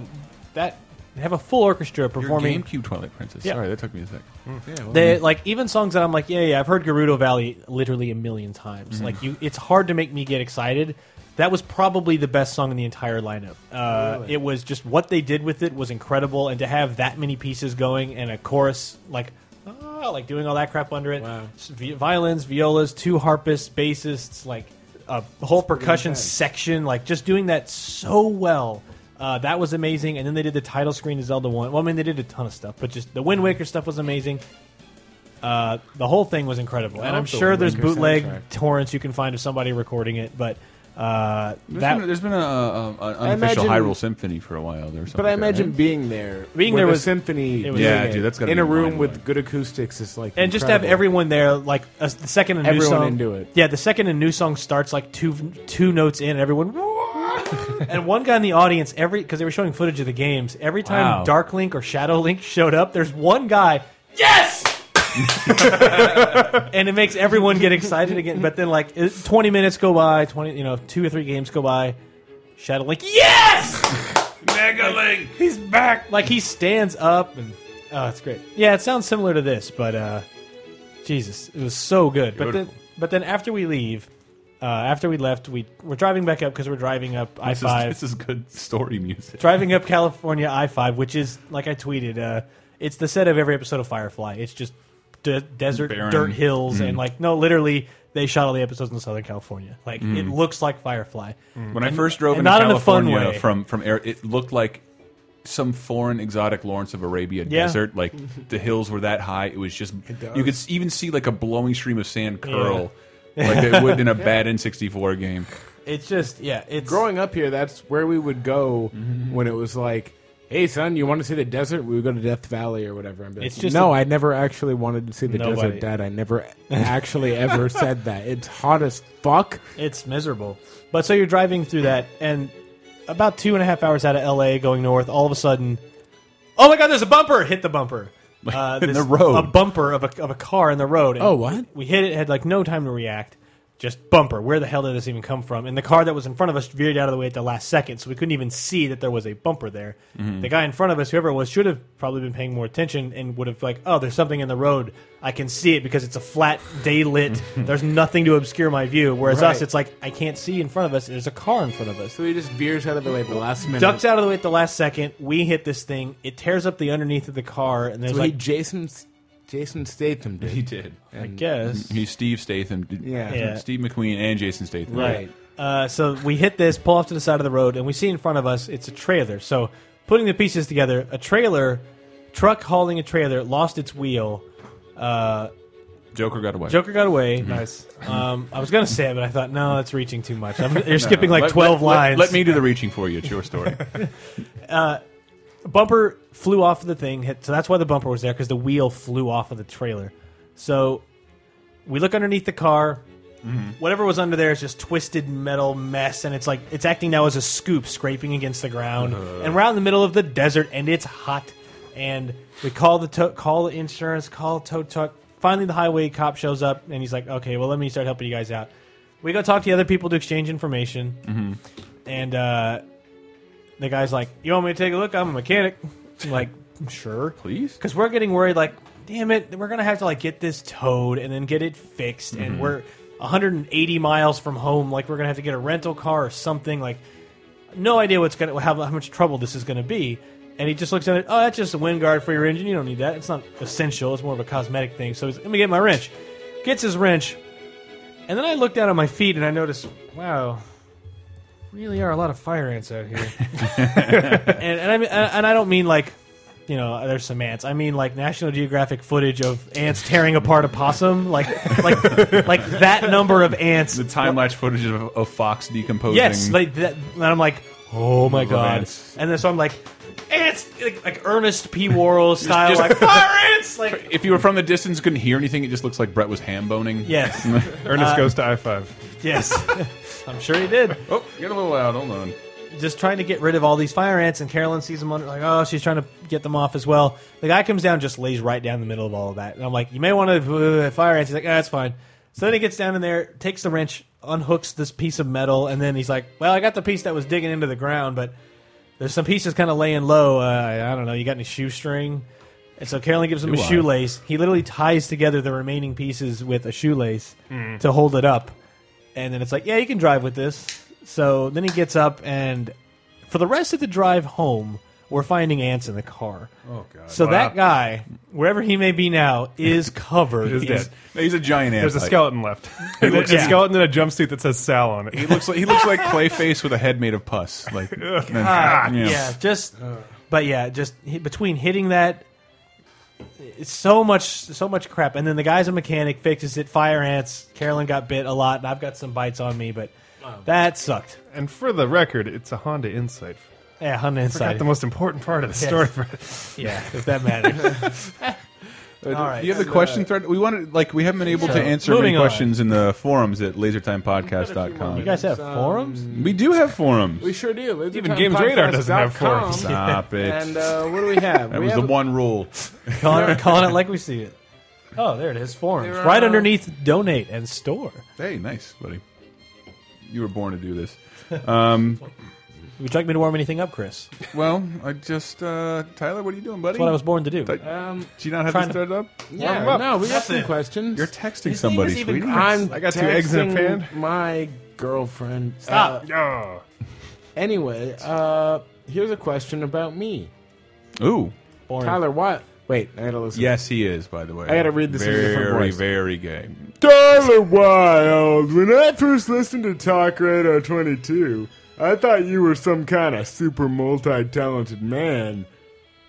Speaker 6: that they have a full orchestra
Speaker 3: Your
Speaker 6: performing.
Speaker 3: GameCube Twilight Princess.
Speaker 6: Yeah.
Speaker 3: Sorry, that took me a sec.
Speaker 6: They like even songs that I'm like, yeah, yeah, I've heard Gerudo Valley literally a million times. Like you, it's hard to make me get excited. That was probably the best song in the entire lineup. Uh, It was just what they did with it was incredible, and to have that many pieces going and a chorus like. ah, like doing all that crap under it,
Speaker 4: Wow.
Speaker 6: S- vi- violins, violas, two harpists, bassists, like a whole percussion
Speaker 4: intense.
Speaker 6: section, like just doing that so well. Uh, that was amazing. And then they did the title screen to Zelda One. Well, I mean, they did a ton of stuff, but just the Wind Waker stuff was amazing. Uh, the whole thing was incredible, and
Speaker 4: I
Speaker 6: I'm
Speaker 4: love the
Speaker 6: sure
Speaker 4: Wind
Speaker 6: there's
Speaker 4: Waker
Speaker 6: bootleg
Speaker 4: soundtrack.
Speaker 6: torrents you can find of somebody recording it, but uh,
Speaker 3: There's
Speaker 6: that
Speaker 3: been, there's been a, a, an unofficial
Speaker 4: imagine-
Speaker 3: Hyrule Symphony for a while. There, or something
Speaker 4: But I
Speaker 3: like that,
Speaker 4: imagine
Speaker 3: right?
Speaker 4: being there,
Speaker 6: Being
Speaker 4: with
Speaker 6: there
Speaker 4: a
Speaker 6: was-
Speaker 4: symphony.
Speaker 6: it was-
Speaker 4: doing
Speaker 3: Yeah,
Speaker 4: it
Speaker 3: dude, that's gotta
Speaker 4: in
Speaker 3: be
Speaker 4: a room
Speaker 3: mind-blowing.
Speaker 4: with good acoustics is like
Speaker 6: and just to have
Speaker 4: incredible.
Speaker 6: everyone there like uh, the second a new
Speaker 4: Everyone
Speaker 6: song
Speaker 4: into it.
Speaker 6: yeah the second a new song starts like two two notes in and everyone and one guy in the audience every because they were showing footage of the games every time
Speaker 3: Wow.
Speaker 6: dark link or shadow link showed up there's one guy yes and it makes everyone get excited again but then like it- 20 minutes go by 20 you know two or three games go by shadow link yes
Speaker 1: Mega Link!
Speaker 6: He's back. Like he stands up and oh, it's great. Yeah, it sounds similar to this, but uh, Jesus, it was so good. But then, but then after we leave, uh, after we left, we we're driving back up because we're driving up I
Speaker 3: This is,
Speaker 6: five
Speaker 3: this is good story music.
Speaker 6: driving up California I five, which is like I tweeted, uh, it's the set of every episode of Firefly. It's just de- desert,
Speaker 3: Barren.
Speaker 6: dirt hills, and like no, literally they shot all the episodes in Southern California. Like it looks like Firefly.
Speaker 3: When I first drove
Speaker 6: and
Speaker 3: into
Speaker 6: not in a fun
Speaker 3: California
Speaker 6: way.
Speaker 3: from from air, it looked like some foreign exotic Lawrence of Arabia
Speaker 6: Yeah.
Speaker 3: desert. Like the hills were that high, it was just you could s- even see like a blowing stream of sand curl, like it would in a bad N64 game.
Speaker 6: It's just yeah, it's
Speaker 4: growing up here, that's where we would go when it was like, "Hey, son, you want to see the desert? We would go to Death Valley or whatever." I'm like,
Speaker 6: It's just
Speaker 4: no,
Speaker 6: a-
Speaker 4: I never actually wanted to see the
Speaker 6: Nobody.
Speaker 4: desert, Dad. I never actually ever said that. It's hot as fuck.
Speaker 6: It's miserable. But so you're driving through that, and about two and a half hours out of LA going north, all of a sudden, oh my God, there's a bumper! Hit the bumper. Uh,
Speaker 3: In the road.
Speaker 6: A bumper of a, of a car in the road. And
Speaker 4: Oh, what?
Speaker 6: We hit it, had like no time to react. Just bumper. Where the hell did this even come from? And the car that was in front of us veered out of the way at the last second, so we couldn't even see that there was a bumper there.
Speaker 4: Mm-hmm.
Speaker 6: The guy in front of us, whoever it was, should have probably been paying more attention and would have like, oh, there's something in the road. I can see it because it's a flat day lit. there's nothing to obscure my view. Whereas us,
Speaker 4: Right.
Speaker 6: it's like I can't see in front of us. There's a car in front of us.
Speaker 4: So he just veers out of the way at the last minute.
Speaker 6: Ducks out of the way at the last second. We hit this thing. It tears up the underneath of the car, and there's
Speaker 4: So he
Speaker 6: like,
Speaker 4: Jason Jason Statham did.
Speaker 3: did.
Speaker 6: I guess,
Speaker 3: He's Steve Statham. did-
Speaker 4: Yeah.
Speaker 6: Yeah.
Speaker 3: Steve McQueen and Jason Statham.
Speaker 4: Right.
Speaker 6: Uh, so we hit this, pull off to the side of the road, and we see in front of us it's a trailer. So putting the pieces together, a trailer, truck hauling a trailer, lost its wheel. Uh,
Speaker 3: Joker got away.
Speaker 6: Joker got away.
Speaker 5: Nice.
Speaker 6: Um, I was gonna say it, but I thought no, that's reaching too much. I'm, you're skipping like twelve
Speaker 3: let-
Speaker 6: lines.
Speaker 3: Let, me do the reaching for you. It's your story.
Speaker 6: bumper flew off of the thing, hit, so that's why the bumper was there because the wheel flew off of the trailer. So we look underneath the car. Whatever was under there is just twisted metal mess, and it's like it's acting now as a scoop scraping against the ground. and we're out in the middle of the desert, and it's hot, and we call the to- call the insurance, call tow truck. Finally, the highway cop shows up, and he's like, "Okay, well, let me start helping you guys out." We go talk to the other people to exchange information, and uh, the guy's like, "You want me to take a look? I'm a mechanic." I'm like, sure,
Speaker 3: Please?
Speaker 6: because we're getting worried. Like, damn it, we're gonna have to like get this towed and then get it fixed, and we're 180 miles from home. Like, we're gonna have to get a rental car or something. Like, no idea what's gonna how, how much trouble this is gonna be. And he just looks at it. Oh, that's just a wind guard for your engine. You don't need that. It's not essential. It's more of a cosmetic thing. So he's let me get my wrench. Gets his wrench, and then I look down at my feet and I notice, wow, really are a lot of fire ants out here. and, and I mean, and I don't mean like, you know, there's some ants. I mean like National Geographic footage of ants tearing apart a possum, like like like that number of ants.
Speaker 3: The time lapse footage of, of Fox decomposing.
Speaker 6: yes, like that, and I'm like, oh my god.
Speaker 3: ants.
Speaker 6: And then so I'm like, ants, like, like Ernest P. Worrell style,
Speaker 3: just-
Speaker 6: like fire ants, like
Speaker 3: if you were from the distance, couldn't hear anything. It just looks like Brett was ham boning.
Speaker 6: yes,
Speaker 5: Ernest goes to I five.
Speaker 6: yes. I'm sure he did.
Speaker 3: Oh, get a little loud. Hold on.
Speaker 6: just trying to get rid of all these fire ants, and Carolyn sees them under, like, oh, she's trying to get them off as well. The guy comes down, just lays right down the middle of all of that, and I'm like, you may want to uh, fire ants. He's like, ah, that's fine. So then he gets down in there, takes the wrench, unhooks this piece of metal, and then he's like, well, I got the piece that was digging into the ground, but there's some pieces kind of laying low. Uh, I I don't know. You got any shoestring? And so Carolyn gives him
Speaker 3: Do
Speaker 6: a
Speaker 3: I?
Speaker 6: shoelace. He literally ties together the remaining pieces with a shoelace
Speaker 3: Hmm.
Speaker 6: to hold it up. And then it's like, yeah, you can drive with this. So then he gets up, and for the rest of the drive home, we're finding ants in the car.
Speaker 3: Oh god.
Speaker 6: so
Speaker 5: Wow.
Speaker 6: that guy, wherever he may be now, is covered.
Speaker 5: Is
Speaker 6: He's-
Speaker 5: dead.
Speaker 3: he's a giant ant.
Speaker 5: There's a
Speaker 3: type.
Speaker 5: skeleton left. And a
Speaker 6: Yeah.
Speaker 5: skeleton in a jumpsuit that says Sal on
Speaker 3: He
Speaker 5: it.
Speaker 3: looks like he looks like Clayface with a head made of pus. Like, yeah.
Speaker 6: yeah, just but yeah, just hi- between hitting that, it's so much so much crap. And then the guy's a mechanic, fixes it. Fire ants. Carolyn got bit a lot, and I've got some bites on me, but that sucked.
Speaker 5: And for the record, it's a Honda Insight.
Speaker 6: Yeah, Honda
Speaker 5: Forgot
Speaker 6: inside.
Speaker 5: the most important part of the
Speaker 6: Yes.
Speaker 5: story. For
Speaker 6: yeah, if that matters.
Speaker 3: Uh, do-
Speaker 6: All right.
Speaker 3: Do you have the question thread? We wanted like we haven't been able to
Speaker 6: So,
Speaker 3: answer many
Speaker 6: moving on.
Speaker 3: questions in the forums at
Speaker 6: you
Speaker 3: lasertimepodcast.com.
Speaker 6: guys have forums?
Speaker 3: We do have forums.
Speaker 4: We sure do. It's
Speaker 5: Even Games Radar doesn't have
Speaker 4: timepodcast.com.
Speaker 5: forums.
Speaker 3: Stop it.
Speaker 4: And uh, what do we have?
Speaker 3: that
Speaker 4: we
Speaker 3: was
Speaker 4: have
Speaker 3: the one rule.
Speaker 6: calling, it, calling it like we see it. Oh, there it is. Forums
Speaker 4: There are- uh,
Speaker 6: right underneath donate and store.
Speaker 3: Hey, nice, buddy. You were born to do this. Um,
Speaker 6: Would you like me to warm anything up, Chris? That's
Speaker 3: Well, I just uh, Tyler, what are you doing, buddy?
Speaker 6: what I was born to do.
Speaker 3: Did I-
Speaker 4: Um,
Speaker 3: did you not have
Speaker 6: trying
Speaker 3: this
Speaker 6: to-
Speaker 3: thread up?
Speaker 4: yeah,
Speaker 5: up.
Speaker 4: no, we got
Speaker 6: That's
Speaker 4: some
Speaker 6: it.
Speaker 4: questions.
Speaker 3: You're texting
Speaker 6: His name
Speaker 3: somebody,
Speaker 6: is even
Speaker 3: sweetie.
Speaker 4: I'm
Speaker 5: I got two eggs and a
Speaker 4: texting
Speaker 5: pan.
Speaker 4: My girlfriend.
Speaker 6: Stop.
Speaker 4: Uh,
Speaker 5: Oh.
Speaker 4: anyway, uh, here's a question about me,
Speaker 3: Ooh.
Speaker 6: Born.
Speaker 4: Tyler. What? Wait, I gotta listen.
Speaker 3: Yes, he is. By the way,
Speaker 4: I gotta read this in a
Speaker 3: Very,
Speaker 4: different voice.
Speaker 3: very gay.
Speaker 4: Tyler Wild, when I first listened to Talk Radar 22, I thought you were some kind of super multi talented man.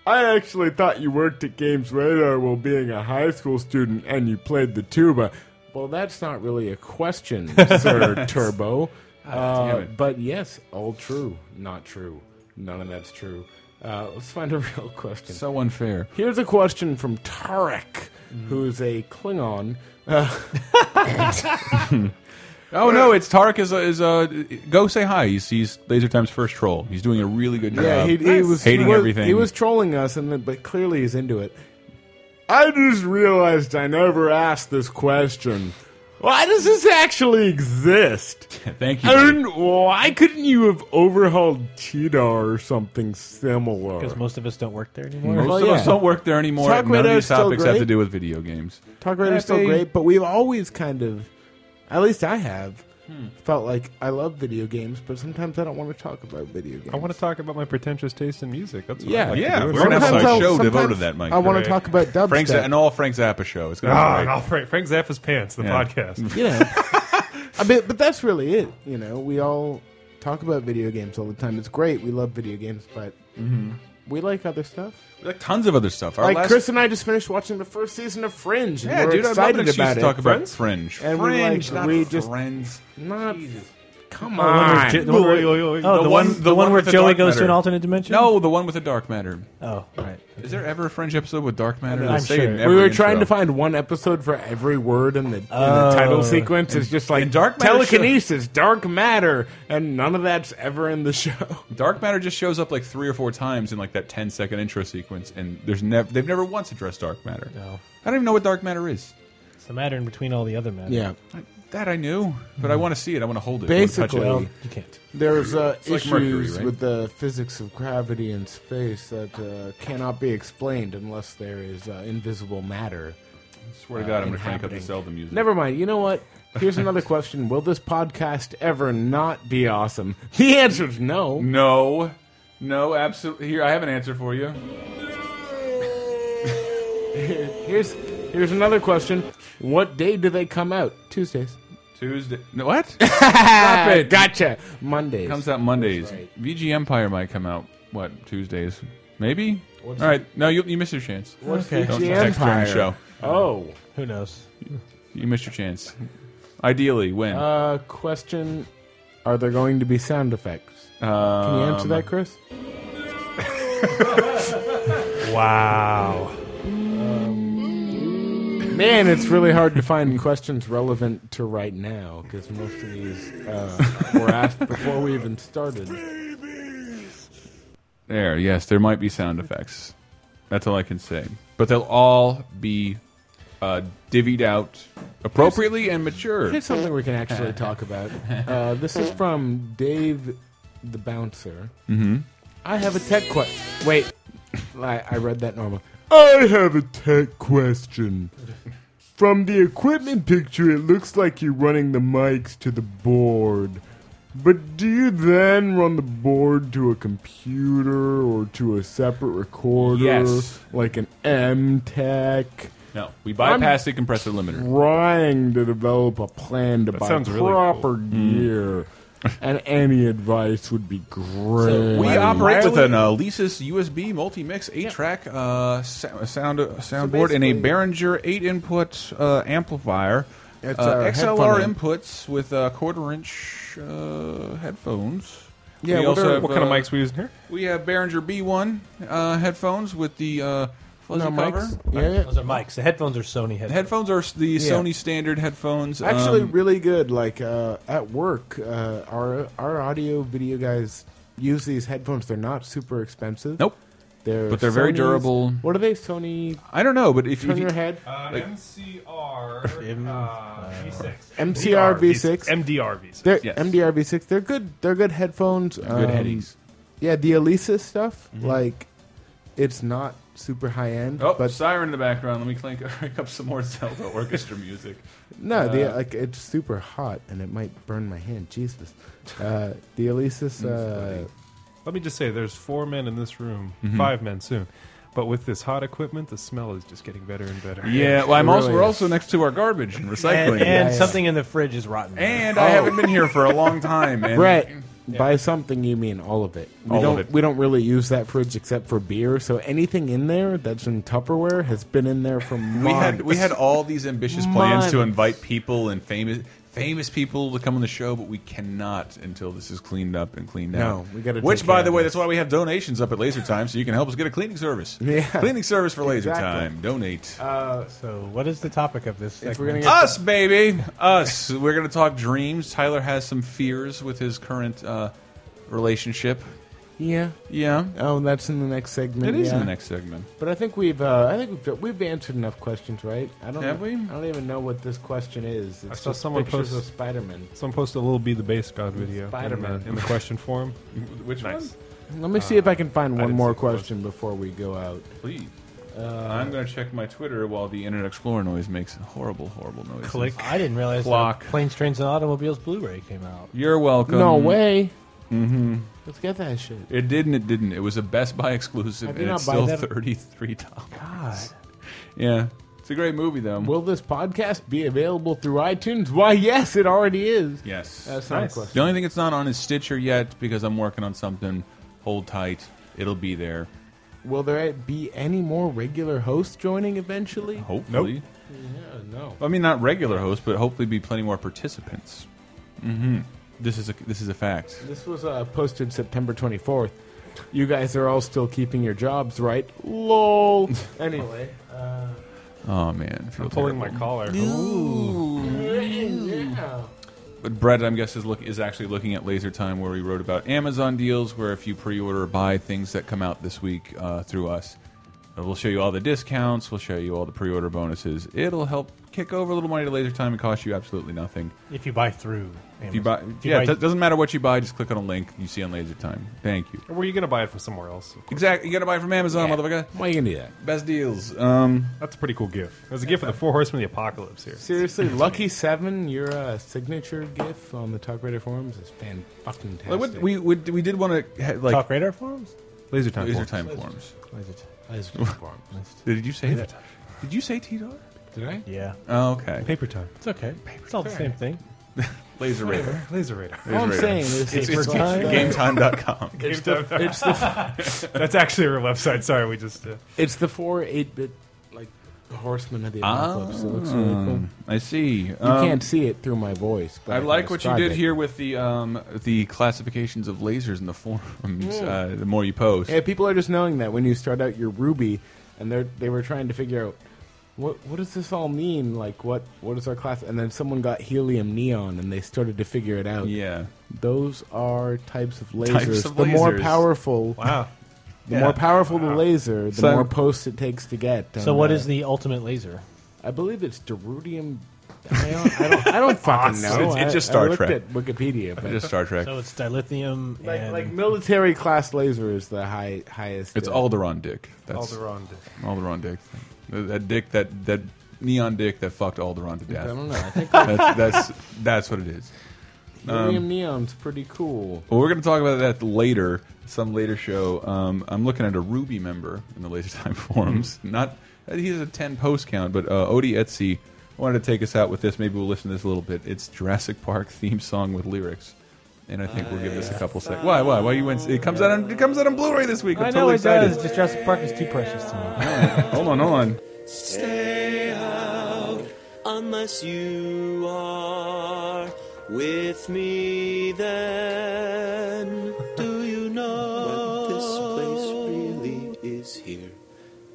Speaker 4: I actually thought you worked at Games Radar while being a high school student and you played the tuba. Well, that's not really a question, Sir Turbo. Uh,
Speaker 3: damn it.
Speaker 4: but yes, all true. Not true. None of that's true. Uh, let's find a real question.
Speaker 3: So unfair.
Speaker 4: Here's a question from Tarek, who's a Klingon.
Speaker 3: Oh no, it's Tarek is a, is a go say hi. He's he's Laser Time's first troll. He's doing a really good job.
Speaker 4: Yeah, he, he was
Speaker 3: hating
Speaker 4: he was-
Speaker 3: everything.
Speaker 4: He was trolling us, and then- but clearly he's into it. I just realized I never asked this question. Why does this actually exist?
Speaker 3: Thank you.
Speaker 4: I didn't, why couldn't you have overhauled Cheetah or something similar?
Speaker 6: Because most of us don't work there anymore.
Speaker 3: Most
Speaker 4: Well,
Speaker 3: of us
Speaker 4: yeah.
Speaker 3: don't work there anymore.
Speaker 4: Talk
Speaker 3: None of
Speaker 4: radio's
Speaker 3: these
Speaker 4: still
Speaker 3: topics have
Speaker 4: great.
Speaker 3: to do with video games.
Speaker 4: Talk Radio's still
Speaker 3: Happy.
Speaker 4: great, but we've always kind of, at least I have, felt like I love video games, but sometimes I don't want to talk about video games.
Speaker 5: I want to talk about my pretentious taste in music. That's what
Speaker 4: Yeah.
Speaker 5: I like
Speaker 3: Yeah,
Speaker 5: To do.
Speaker 3: we're gonna have
Speaker 4: Sometimes
Speaker 3: a
Speaker 4: I'll-
Speaker 3: show devoted
Speaker 4: sometimes
Speaker 3: to that, Mike.
Speaker 4: I want
Speaker 5: Right.
Speaker 4: to talk about dubstep.
Speaker 3: Frank Zappa and all Frank Zappa show. It's gonna
Speaker 5: Ah,
Speaker 3: be
Speaker 5: and
Speaker 3: great.
Speaker 5: I'll- Frank, Frank Zappa's pants. The
Speaker 3: Yeah.
Speaker 5: podcast.
Speaker 4: you know. I mean, but that's really it. You know, we all talk about video games all the time. It's great. We love video games, but we like other stuff.
Speaker 3: Like tons of other stuff. Mm-hmm. Our
Speaker 4: like
Speaker 3: last,
Speaker 4: Chris and I just finished watching the first season of Fringe. And
Speaker 3: yeah,
Speaker 4: we're
Speaker 3: dude, I'd love an
Speaker 4: excited
Speaker 3: excuse
Speaker 4: about
Speaker 3: to
Speaker 4: it.
Speaker 3: talk about
Speaker 4: Friends?
Speaker 3: Fringe.
Speaker 4: And we,
Speaker 3: Fringe, Oh,
Speaker 4: like,
Speaker 3: not
Speaker 4: we just-
Speaker 3: Friends.
Speaker 4: Not Come
Speaker 6: The one where
Speaker 4: on.
Speaker 6: Jo- the one where- Oh, the one, the one where
Speaker 3: with the
Speaker 6: Joey
Speaker 3: dark
Speaker 6: goes to
Speaker 3: matter.
Speaker 6: an alternate dimension.
Speaker 3: No, the one with the dark matter.
Speaker 6: Oh, right.
Speaker 3: Is there ever a French episode with dark matter?
Speaker 6: I'm
Speaker 3: They say it
Speaker 6: sure.
Speaker 3: in
Speaker 6: We
Speaker 3: every
Speaker 4: we were trying
Speaker 3: intro.
Speaker 4: to find one episode for every word in the, in the
Speaker 6: Oh.
Speaker 4: title sequence. It's just like
Speaker 3: and dark matter
Speaker 4: telekinesis, dark matter, and none of that's ever in the show.
Speaker 3: Dark matter just shows up like three or four times in like that 10 second intro sequence, and there's never they've never once addressed dark matter.
Speaker 6: No.
Speaker 3: I don't even know what dark matter is.
Speaker 6: It's the matter in between all the other matter.
Speaker 4: Yeah,
Speaker 3: I, that I knew, but I want to see it. I want to hold it. I wanna touch it.
Speaker 4: Hmm. Basically,
Speaker 6: Well, you can't.
Speaker 4: there's uh,
Speaker 3: like
Speaker 4: issues
Speaker 3: mercury, right?
Speaker 4: with the physics of gravity and space that uh, cannot be explained unless there is uh, invisible matter.
Speaker 3: swear to God, I'm going to crank up
Speaker 4: uh, inhabiting.
Speaker 3: the Zelda music.
Speaker 4: Never mind. You know what? Here's another question: Will this podcast ever not be awesome? The answer is no.
Speaker 3: No, no, absolutely. Here, I have an answer for you.
Speaker 4: Here's here's another question: What day do they come out? Tuesdays.
Speaker 3: Tuesday. No, what? Stop
Speaker 4: Ah,
Speaker 3: it.
Speaker 4: Gotcha. Mondays.
Speaker 3: Comes out Mondays.
Speaker 4: That's right.
Speaker 3: VG Empire might come out what Tuesdays? Maybe. All right. No, you, you missed your chance.
Speaker 6: Okay.
Speaker 3: Don't
Speaker 4: VG
Speaker 3: text during the
Speaker 4: Empire?
Speaker 3: show.
Speaker 4: Oh.
Speaker 6: Who knows?
Speaker 3: You missed your chance. Ideally, when?
Speaker 4: Uh, question: Are there going to be sound effects? Can
Speaker 3: Um,
Speaker 4: you answer that, Chris?
Speaker 5: Wow.
Speaker 4: Man, it's really hard to find questions relevant to right now because most of these uh, were asked before we even started.
Speaker 3: There, yes, there might be sound effects. That's all I can say. But they'll all be uh, divvied out appropriately and mature.
Speaker 4: Here's something we can actually talk about. Uh, this is from Dave the Bouncer. Mm-hmm. I have a tech question. Wait, I, I read that normal. I have a tech question. From the equipment picture, it looks like you're running the mics to the board. But do you then run the board to a computer or to a separate recorder?
Speaker 3: Yes.
Speaker 4: Like an M Tech?
Speaker 3: No, we bypass the compressor limiter.
Speaker 4: trying to develop a plan to buy
Speaker 5: sounds really
Speaker 4: proper
Speaker 3: Mm.
Speaker 4: gear, and any advice would be great.
Speaker 3: We
Speaker 4: Why-
Speaker 3: operate
Speaker 4: why
Speaker 3: with
Speaker 4: would-
Speaker 3: an uh, Lesis USB multi-mix eight-track uh, sou- sound uh, soundboard and a
Speaker 4: basically-
Speaker 3: Behringer eight-input uh, amplifier.
Speaker 4: It's
Speaker 3: uh,
Speaker 4: a
Speaker 3: XLR
Speaker 4: headphone amp.
Speaker 3: inputs with uh, quarter-inch uh, headphones.
Speaker 4: Yeah,
Speaker 3: we
Speaker 4: what
Speaker 3: also
Speaker 4: are-
Speaker 3: have,
Speaker 5: What kind of
Speaker 3: uh,
Speaker 5: mics we using here?
Speaker 3: We have Behringer B1 uh, headphones with the uh, fuzzy
Speaker 4: No,
Speaker 3: cover.
Speaker 4: Mike's- Yeah, yeah.
Speaker 3: Um,
Speaker 6: Those are mics. The headphones are Sony
Speaker 3: The
Speaker 6: headphones.
Speaker 3: headphones are s- the Sony standard headphones.
Speaker 4: actually
Speaker 3: um,
Speaker 4: really good. Like uh, at work, uh, our our audio video guys use these headphones. They're not super expensive.
Speaker 3: nope.
Speaker 4: They're
Speaker 3: But they're very
Speaker 4: Sony's-
Speaker 3: durable.
Speaker 4: What are they? Sony
Speaker 3: I don't know, but if,
Speaker 4: turn
Speaker 3: if you,
Speaker 4: your head.
Speaker 5: Uh, MCR uh, V6.
Speaker 4: MCR V6.
Speaker 5: MDR V6.
Speaker 4: They're
Speaker 3: yes.
Speaker 4: MDR V6. They're good. They're good headphones.
Speaker 3: good
Speaker 4: um,
Speaker 3: headies. Mm-hmm.
Speaker 4: Yeah, the Alesis stuff. Like, it's not super high end,
Speaker 3: Oh,
Speaker 4: but
Speaker 3: siren in the background. Let me clank, crank up some more Zelda orchestra music.
Speaker 4: No,
Speaker 3: Uh,
Speaker 4: the, like it's super hot and it might burn my hand. Jesus, uh, the Alesis. Uh,
Speaker 5: Let me just say, there's four men in this room,
Speaker 3: Mm-hmm.
Speaker 5: five men soon. But with this hot equipment, the smell is just getting better and better.
Speaker 3: Yeah, well, I'm
Speaker 4: It
Speaker 3: also
Speaker 4: really
Speaker 3: we're
Speaker 4: is.
Speaker 3: also next to our garbage and
Speaker 6: and,
Speaker 3: recycling.
Speaker 6: and
Speaker 4: yeah.
Speaker 6: something in the fridge is rotten.
Speaker 3: And I haven't been here for a long time. And
Speaker 4: Brett, by something you mean all of it. We
Speaker 3: All of
Speaker 4: don't
Speaker 3: it.
Speaker 4: we don't really use that fridge except for beer. So anything in there that's in Tupperware has been in there for months.
Speaker 3: we had we had all these ambitious plans to
Speaker 4: Months.
Speaker 3: invite people and famous famous people to come on the show, but we cannot until this is cleaned up and cleaned
Speaker 4: No,
Speaker 3: out.
Speaker 4: we gotta
Speaker 3: Which,
Speaker 4: take
Speaker 3: by
Speaker 4: care
Speaker 3: the
Speaker 4: of
Speaker 3: way,
Speaker 4: this.
Speaker 3: that's why we have donations up at Laser Time, so you can help us get a cleaning service.
Speaker 4: Yeah.
Speaker 3: cleaning service for Laser
Speaker 4: Exactly. Uh,
Speaker 3: Time. Donate.
Speaker 6: So, what is the topic of this?
Speaker 4: If we're gonna
Speaker 6: segment?
Speaker 4: get
Speaker 3: us, baby, us. We're gonna talk dreams. Tyler has some fears with his current uh, relationship.
Speaker 4: yeah.
Speaker 3: Yeah,
Speaker 4: Oh, that's in the next segment.
Speaker 3: it is
Speaker 4: yeah.
Speaker 3: in the next segment.
Speaker 4: But I think we've uh, I think we've, we've answered enough questions, right? I don't
Speaker 3: Have we?
Speaker 4: I don't even know what this question is. It's
Speaker 5: I saw
Speaker 4: just
Speaker 5: someone
Speaker 4: pictures
Speaker 5: post-
Speaker 4: of Spider Man.
Speaker 5: Someone posted a little "Be the Bass God" video in the-
Speaker 4: Spider-Man.
Speaker 5: in, the question form.
Speaker 3: Which
Speaker 5: Nice.
Speaker 4: Let me see if I can
Speaker 3: Uh,
Speaker 4: find one
Speaker 5: didn't
Speaker 4: more
Speaker 5: see the post.
Speaker 4: question before we go out.
Speaker 3: Please. Uh, I'm going to check my Twitter while the Internet Explorer noise makes horrible, horrible noise.
Speaker 5: Click.
Speaker 6: I didn't realize
Speaker 3: Clock.
Speaker 6: that Planes, Trains, and Automobiles Blu-ray came out.
Speaker 3: You're welcome.
Speaker 4: No way. Mm-hmm. Let's get that shit.
Speaker 3: It didn't. It didn't. It was a Best Buy exclusive,
Speaker 4: I did
Speaker 3: and
Speaker 4: not
Speaker 3: it's
Speaker 4: buy
Speaker 3: still
Speaker 4: that.
Speaker 3: thirty-three dollars.
Speaker 6: God,
Speaker 3: Yeah, it's a great movie, though.
Speaker 4: Will this podcast be available through iTunes? Why, yes, it already is.
Speaker 3: yes.
Speaker 4: That's not
Speaker 5: Nice.
Speaker 4: a question.
Speaker 3: the only thing it's not on is Stitcher yet because I'm working on something. Hold tight. It'll be there.
Speaker 4: Will there be any more regular hosts joining eventually?
Speaker 3: Hopefully.
Speaker 4: Yeah, no.
Speaker 3: I mean, not regular hosts, but hopefully be plenty more participants. Mm-hmm. This is a this is a fact.
Speaker 4: This was uh, posted September 24th. You guys are all still keeping your jobs, right? Lol. anyway. Uh,
Speaker 3: Oh man, I feel
Speaker 5: I'm pulling my
Speaker 3: terrible.
Speaker 5: collar.
Speaker 4: yeah.
Speaker 3: But Brett, I'm guessing, is, look, is actually looking at Laser Time, where we wrote about Amazon deals, where if you pre-order or buy things that come out this week uh, through us, uh, we'll show you all the discounts, we'll show you all the pre-order bonuses. It'll help kick over a little money to Laser Time and cost you absolutely nothing.
Speaker 6: If you buy through,
Speaker 3: If you buy,
Speaker 6: If you
Speaker 3: yeah,
Speaker 6: buy-
Speaker 3: it doesn't matter what you buy, just click on a link you see on Laser Time. Thank you.
Speaker 5: Or were you going to buy it from somewhere else?
Speaker 3: Exactly, you gotta buy it from Amazon, motherfucker.
Speaker 4: Why you gonna do that?
Speaker 3: Best deals. Um,
Speaker 5: That's a pretty cool gift. It was a gift for the Four Horsemen of the Apocalypse here.
Speaker 4: Seriously, Lucky Seven, your uh, signature gif on the Talk Radio forums is fan fucking
Speaker 3: like, what- we, we we did want to like
Speaker 6: Talk radar forums.
Speaker 5: Laser time.
Speaker 3: Laser
Speaker 5: Force.
Speaker 3: Time forms. Did you say that? Did you say T-Dar?
Speaker 4: Did I?
Speaker 6: Yeah,
Speaker 3: Oh, okay.
Speaker 5: Paper time.
Speaker 6: it's okay. It's all the same thing.
Speaker 3: Laser Radar.
Speaker 5: Laser radar.
Speaker 4: All I'm
Speaker 3: Laser
Speaker 4: saying
Speaker 3: Radar.
Speaker 4: is
Speaker 6: It's-
Speaker 4: it's,
Speaker 6: it's-
Speaker 4: like,
Speaker 6: it's-
Speaker 3: GameTime.com.
Speaker 4: it's the it's the
Speaker 5: That's actually our website. Sorry, we just. Uh,
Speaker 4: it's the four eight bit like horsemen of the
Speaker 3: Ah.
Speaker 4: apocalypse. it looks really cool. You
Speaker 3: I see. You
Speaker 4: can't see it through my voice, but
Speaker 3: Um, I
Speaker 4: can
Speaker 3: like what you
Speaker 4: describe
Speaker 3: did
Speaker 4: it.
Speaker 3: here with the um, the classifications of lasers in the forums. Uh, the more you post,
Speaker 4: Yeah, people are just knowing that when you start out your Ruby, and they they were trying to figure out what what does this all mean? Like what what is our class? And then someone got helium neon, and they started to figure it out.
Speaker 3: yeah,
Speaker 4: Those are types of lasers.
Speaker 3: Types of
Speaker 4: the more
Speaker 3: lasers.
Speaker 4: powerful,
Speaker 5: wow.
Speaker 4: the
Speaker 3: Yeah.
Speaker 4: more powerful the laser, the
Speaker 3: So-
Speaker 4: more posts it takes to get.
Speaker 6: So,
Speaker 4: And,
Speaker 6: what
Speaker 4: uh,
Speaker 6: is the ultimate laser?
Speaker 4: I believe it's derbium. I don't, I don't, I don't fucking
Speaker 3: Awesome.
Speaker 4: know.
Speaker 3: It's- it's just
Speaker 4: I-
Speaker 3: Star
Speaker 4: I looked
Speaker 3: Trek.
Speaker 4: at Wikipedia, but
Speaker 3: just Star Trek.
Speaker 6: So it's dilithium
Speaker 4: like,
Speaker 6: and
Speaker 4: like military class laser is the high highest.
Speaker 3: it's
Speaker 4: uh,
Speaker 3: Alderon Dick. That's
Speaker 5: Alderaan did.
Speaker 3: Alderon Dick. That- That dick that that neon dick that fucked Alderon to
Speaker 4: I
Speaker 3: death.
Speaker 4: don't know. I think
Speaker 3: that's, that's that's what it is. Um,
Speaker 4: Helium neon's pretty cool.
Speaker 3: Well, we're going to talk about that later, some later show. Um, I'm looking at a Ruby member in the Laser Time forums.
Speaker 6: Hmm.
Speaker 3: Not uh, he has a 10 post count, but uh, Odie Etsy wanted to take us out with this. Maybe we'll listen to this a little bit. It's Jurassic Park theme song with lyrics. And I think we'll give this a couple seconds. Why? Why? Why you went? It comes out. On, it comes out on Blu-ray this week. I'm
Speaker 6: I know
Speaker 3: totally
Speaker 6: it
Speaker 3: excited.
Speaker 6: does. Just Jurassic Park is too precious to me.
Speaker 3: Hold on, hold on.
Speaker 2: stay out unless you are with me then do you know what this place really is here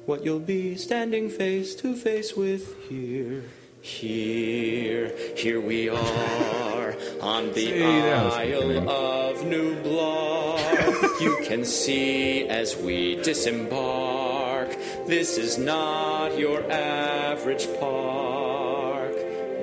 Speaker 2: what you'll be standing face to face with here here here we are on the
Speaker 3: See, that was
Speaker 2: Isle
Speaker 3: convenient.
Speaker 2: of New Block. you can see as we disembark. This is not your average park.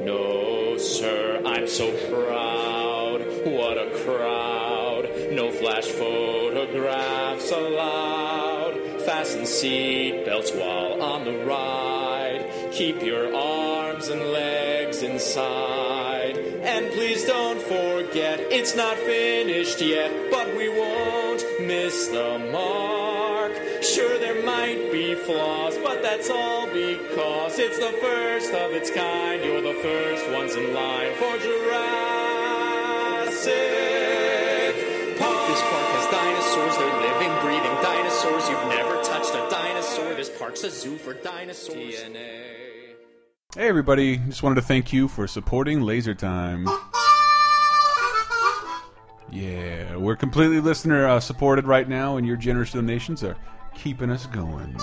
Speaker 2: No, sir, I'm so proud. What a crowd. No flash photographs allowed. Fasten seat belts while on the ride. Keep your arms and legs inside. And please don't forget, it's not finished yet, but we won't miss the mark. Sure, there might be flaws, but that's all because it's the first of its kind. You're the first ones in line for Jurassic Park. This park has dinosaurs, they're living, breathing dinosaurs. You've never touched a dinosaur. This park's a zoo for dinosaurs. DNA.
Speaker 3: Hey everybody, just wanted to thank you for supporting Laser Time. Yeah, we're completely listener uh, supported right now, and your generous donations are keeping us going.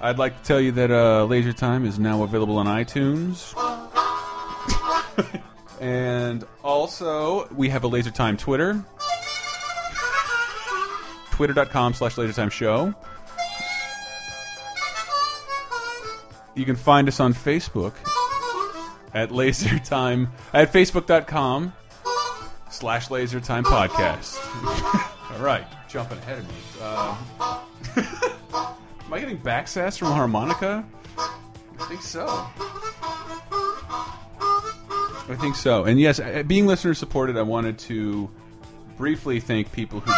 Speaker 3: I'd like to tell you that uh, Laser Time is now available on iTunes. and also, we have a Laser Time Twitter. Twitter.com slash LaserTime Show. You can find us on Facebook at LaserTime at Facebook.com slash LaserTime Podcast. All right, jumping ahead of me. Uh, am I getting back sass from a harmonica? I think so. I think so. And yes, uh, being listener supported, I wanted to briefly thank people who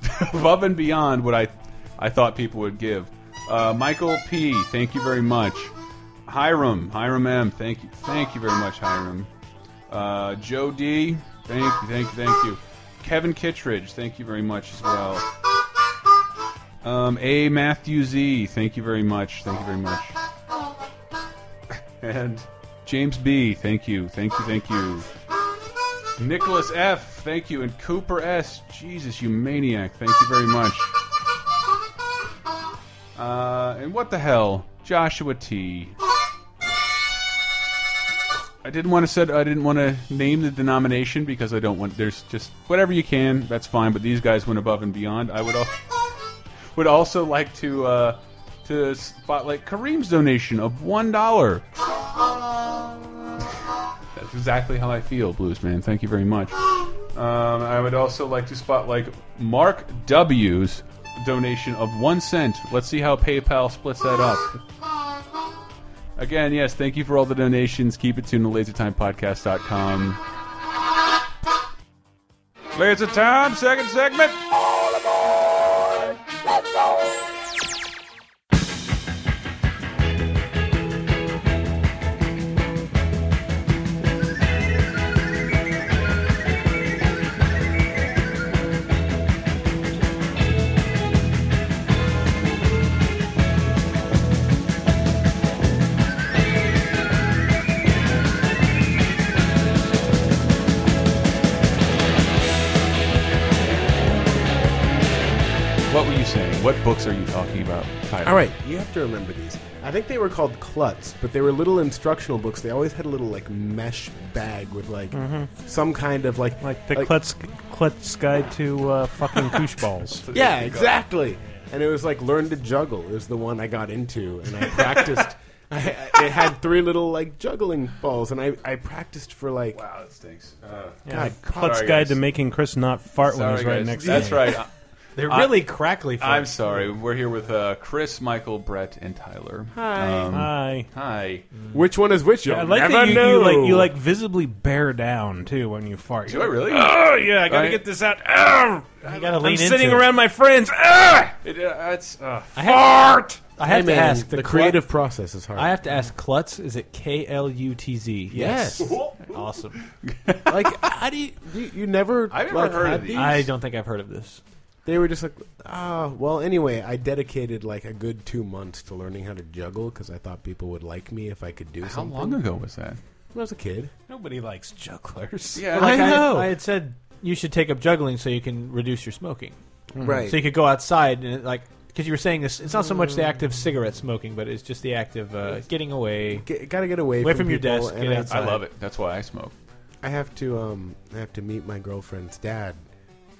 Speaker 3: gave above and beyond what I, I thought people would give. Uh, Michael P, thank you very much. Hiram, Hiram M, thank you, thank you very much, Hiram. Uh, Joe D, thank you, thank you, thank you. Kevin Kittredge, thank you very much as well. Um, A Matthew Z, thank you very much, thank you very much. And James B, thank you, thank you, thank you. Nicholas F, thank you, and Cooper S. Jesus, you maniac! Thank you very much. Uh, and what the hell, Joshua T. I didn't want to said I didn't want to name the denomination because I don't want. There's just whatever you can. That's fine. But these guys went above and beyond. I would al would also like to uh, to spotlight Kareem's donation of one dollar. That's exactly how I feel, Blues Man. Thank you very much. Um, I would also like to spotlight Mark W's donation of one cent. Let's see how PayPal splits that up. Again, yes, thank you for all the donations. Keep it tuned to lasertimepodcast.com. Laser Time, second segment. What were you saying? What books are you talking about, Tyler?
Speaker 4: All right, you have to remember these. I think they were called klutz, but they were little instructional books. They always had a little like mesh bag with like some kind of like
Speaker 7: Like the Klutz, Klutz Guide to uh, Fucking Koosh Balls.
Speaker 4: Yeah, exactly. And it was like learn to juggle is the one I got into, and I practiced. I, I, it had three little like juggling balls, and I, I practiced for like
Speaker 3: Wow, that stinks. Uh,
Speaker 4: God,
Speaker 7: Klutz
Speaker 3: Sorry,
Speaker 7: Guide
Speaker 3: guys.
Speaker 7: to Making Chris Not Fart when
Speaker 3: sorry,
Speaker 7: he's right
Speaker 3: guys.
Speaker 7: next
Speaker 3: That's
Speaker 7: to him.
Speaker 3: right. I-
Speaker 6: They're
Speaker 3: I-
Speaker 6: really crackly. For
Speaker 3: I'm sorry. We're here with uh, Chris, Michael, Brett, and Tyler.
Speaker 7: Hi.
Speaker 3: Hi. hi.
Speaker 4: which one is which? You'll
Speaker 7: I like
Speaker 4: never
Speaker 7: that you,
Speaker 4: know.
Speaker 7: you like you like visibly bear down too when you fart.
Speaker 3: Do I really?
Speaker 7: Oh yeah, I gotta
Speaker 3: Right?
Speaker 7: get this out. Arr!
Speaker 6: you gotta
Speaker 7: I'm
Speaker 6: lean into
Speaker 7: sitting
Speaker 6: it.
Speaker 7: around my friends.
Speaker 5: Ah!
Speaker 7: Arr!
Speaker 3: It, uh, it's, uh,
Speaker 6: I have,
Speaker 7: Fart.
Speaker 6: I have
Speaker 4: Man,
Speaker 6: to ask
Speaker 4: the,
Speaker 6: the,
Speaker 4: creative process is hard.
Speaker 6: I have to ask Klutz. Is it K L U T Z?
Speaker 4: Yes.
Speaker 6: awesome.
Speaker 4: like how do you, do you you never?
Speaker 3: I've never
Speaker 4: like,
Speaker 3: heard of
Speaker 4: had
Speaker 3: these.
Speaker 6: I don't think I've heard of this.
Speaker 4: They were just like, ah, well, anyway, I dedicated like a good two months to learning how to juggle because I thought people would like me if I could do
Speaker 3: how
Speaker 4: something.
Speaker 3: long ago was that?
Speaker 4: When I was a kid.
Speaker 7: Nobody likes jugglers.
Speaker 3: Yeah.
Speaker 6: Like I,
Speaker 4: know.
Speaker 6: I had said you should take up juggling so you can reduce your smoking.
Speaker 4: Right.
Speaker 6: So you could go outside and like because you were saying this. It's not so much the act of cigarette smoking, but it's just the act of uh, getting away.
Speaker 4: Get, gotta get away,
Speaker 6: Away from your
Speaker 4: people,
Speaker 6: desk,
Speaker 4: and
Speaker 6: get
Speaker 4: I-
Speaker 3: I
Speaker 6: outside.
Speaker 3: love it. That's why I smoke.
Speaker 4: I have to um I have to meet my girlfriend's dad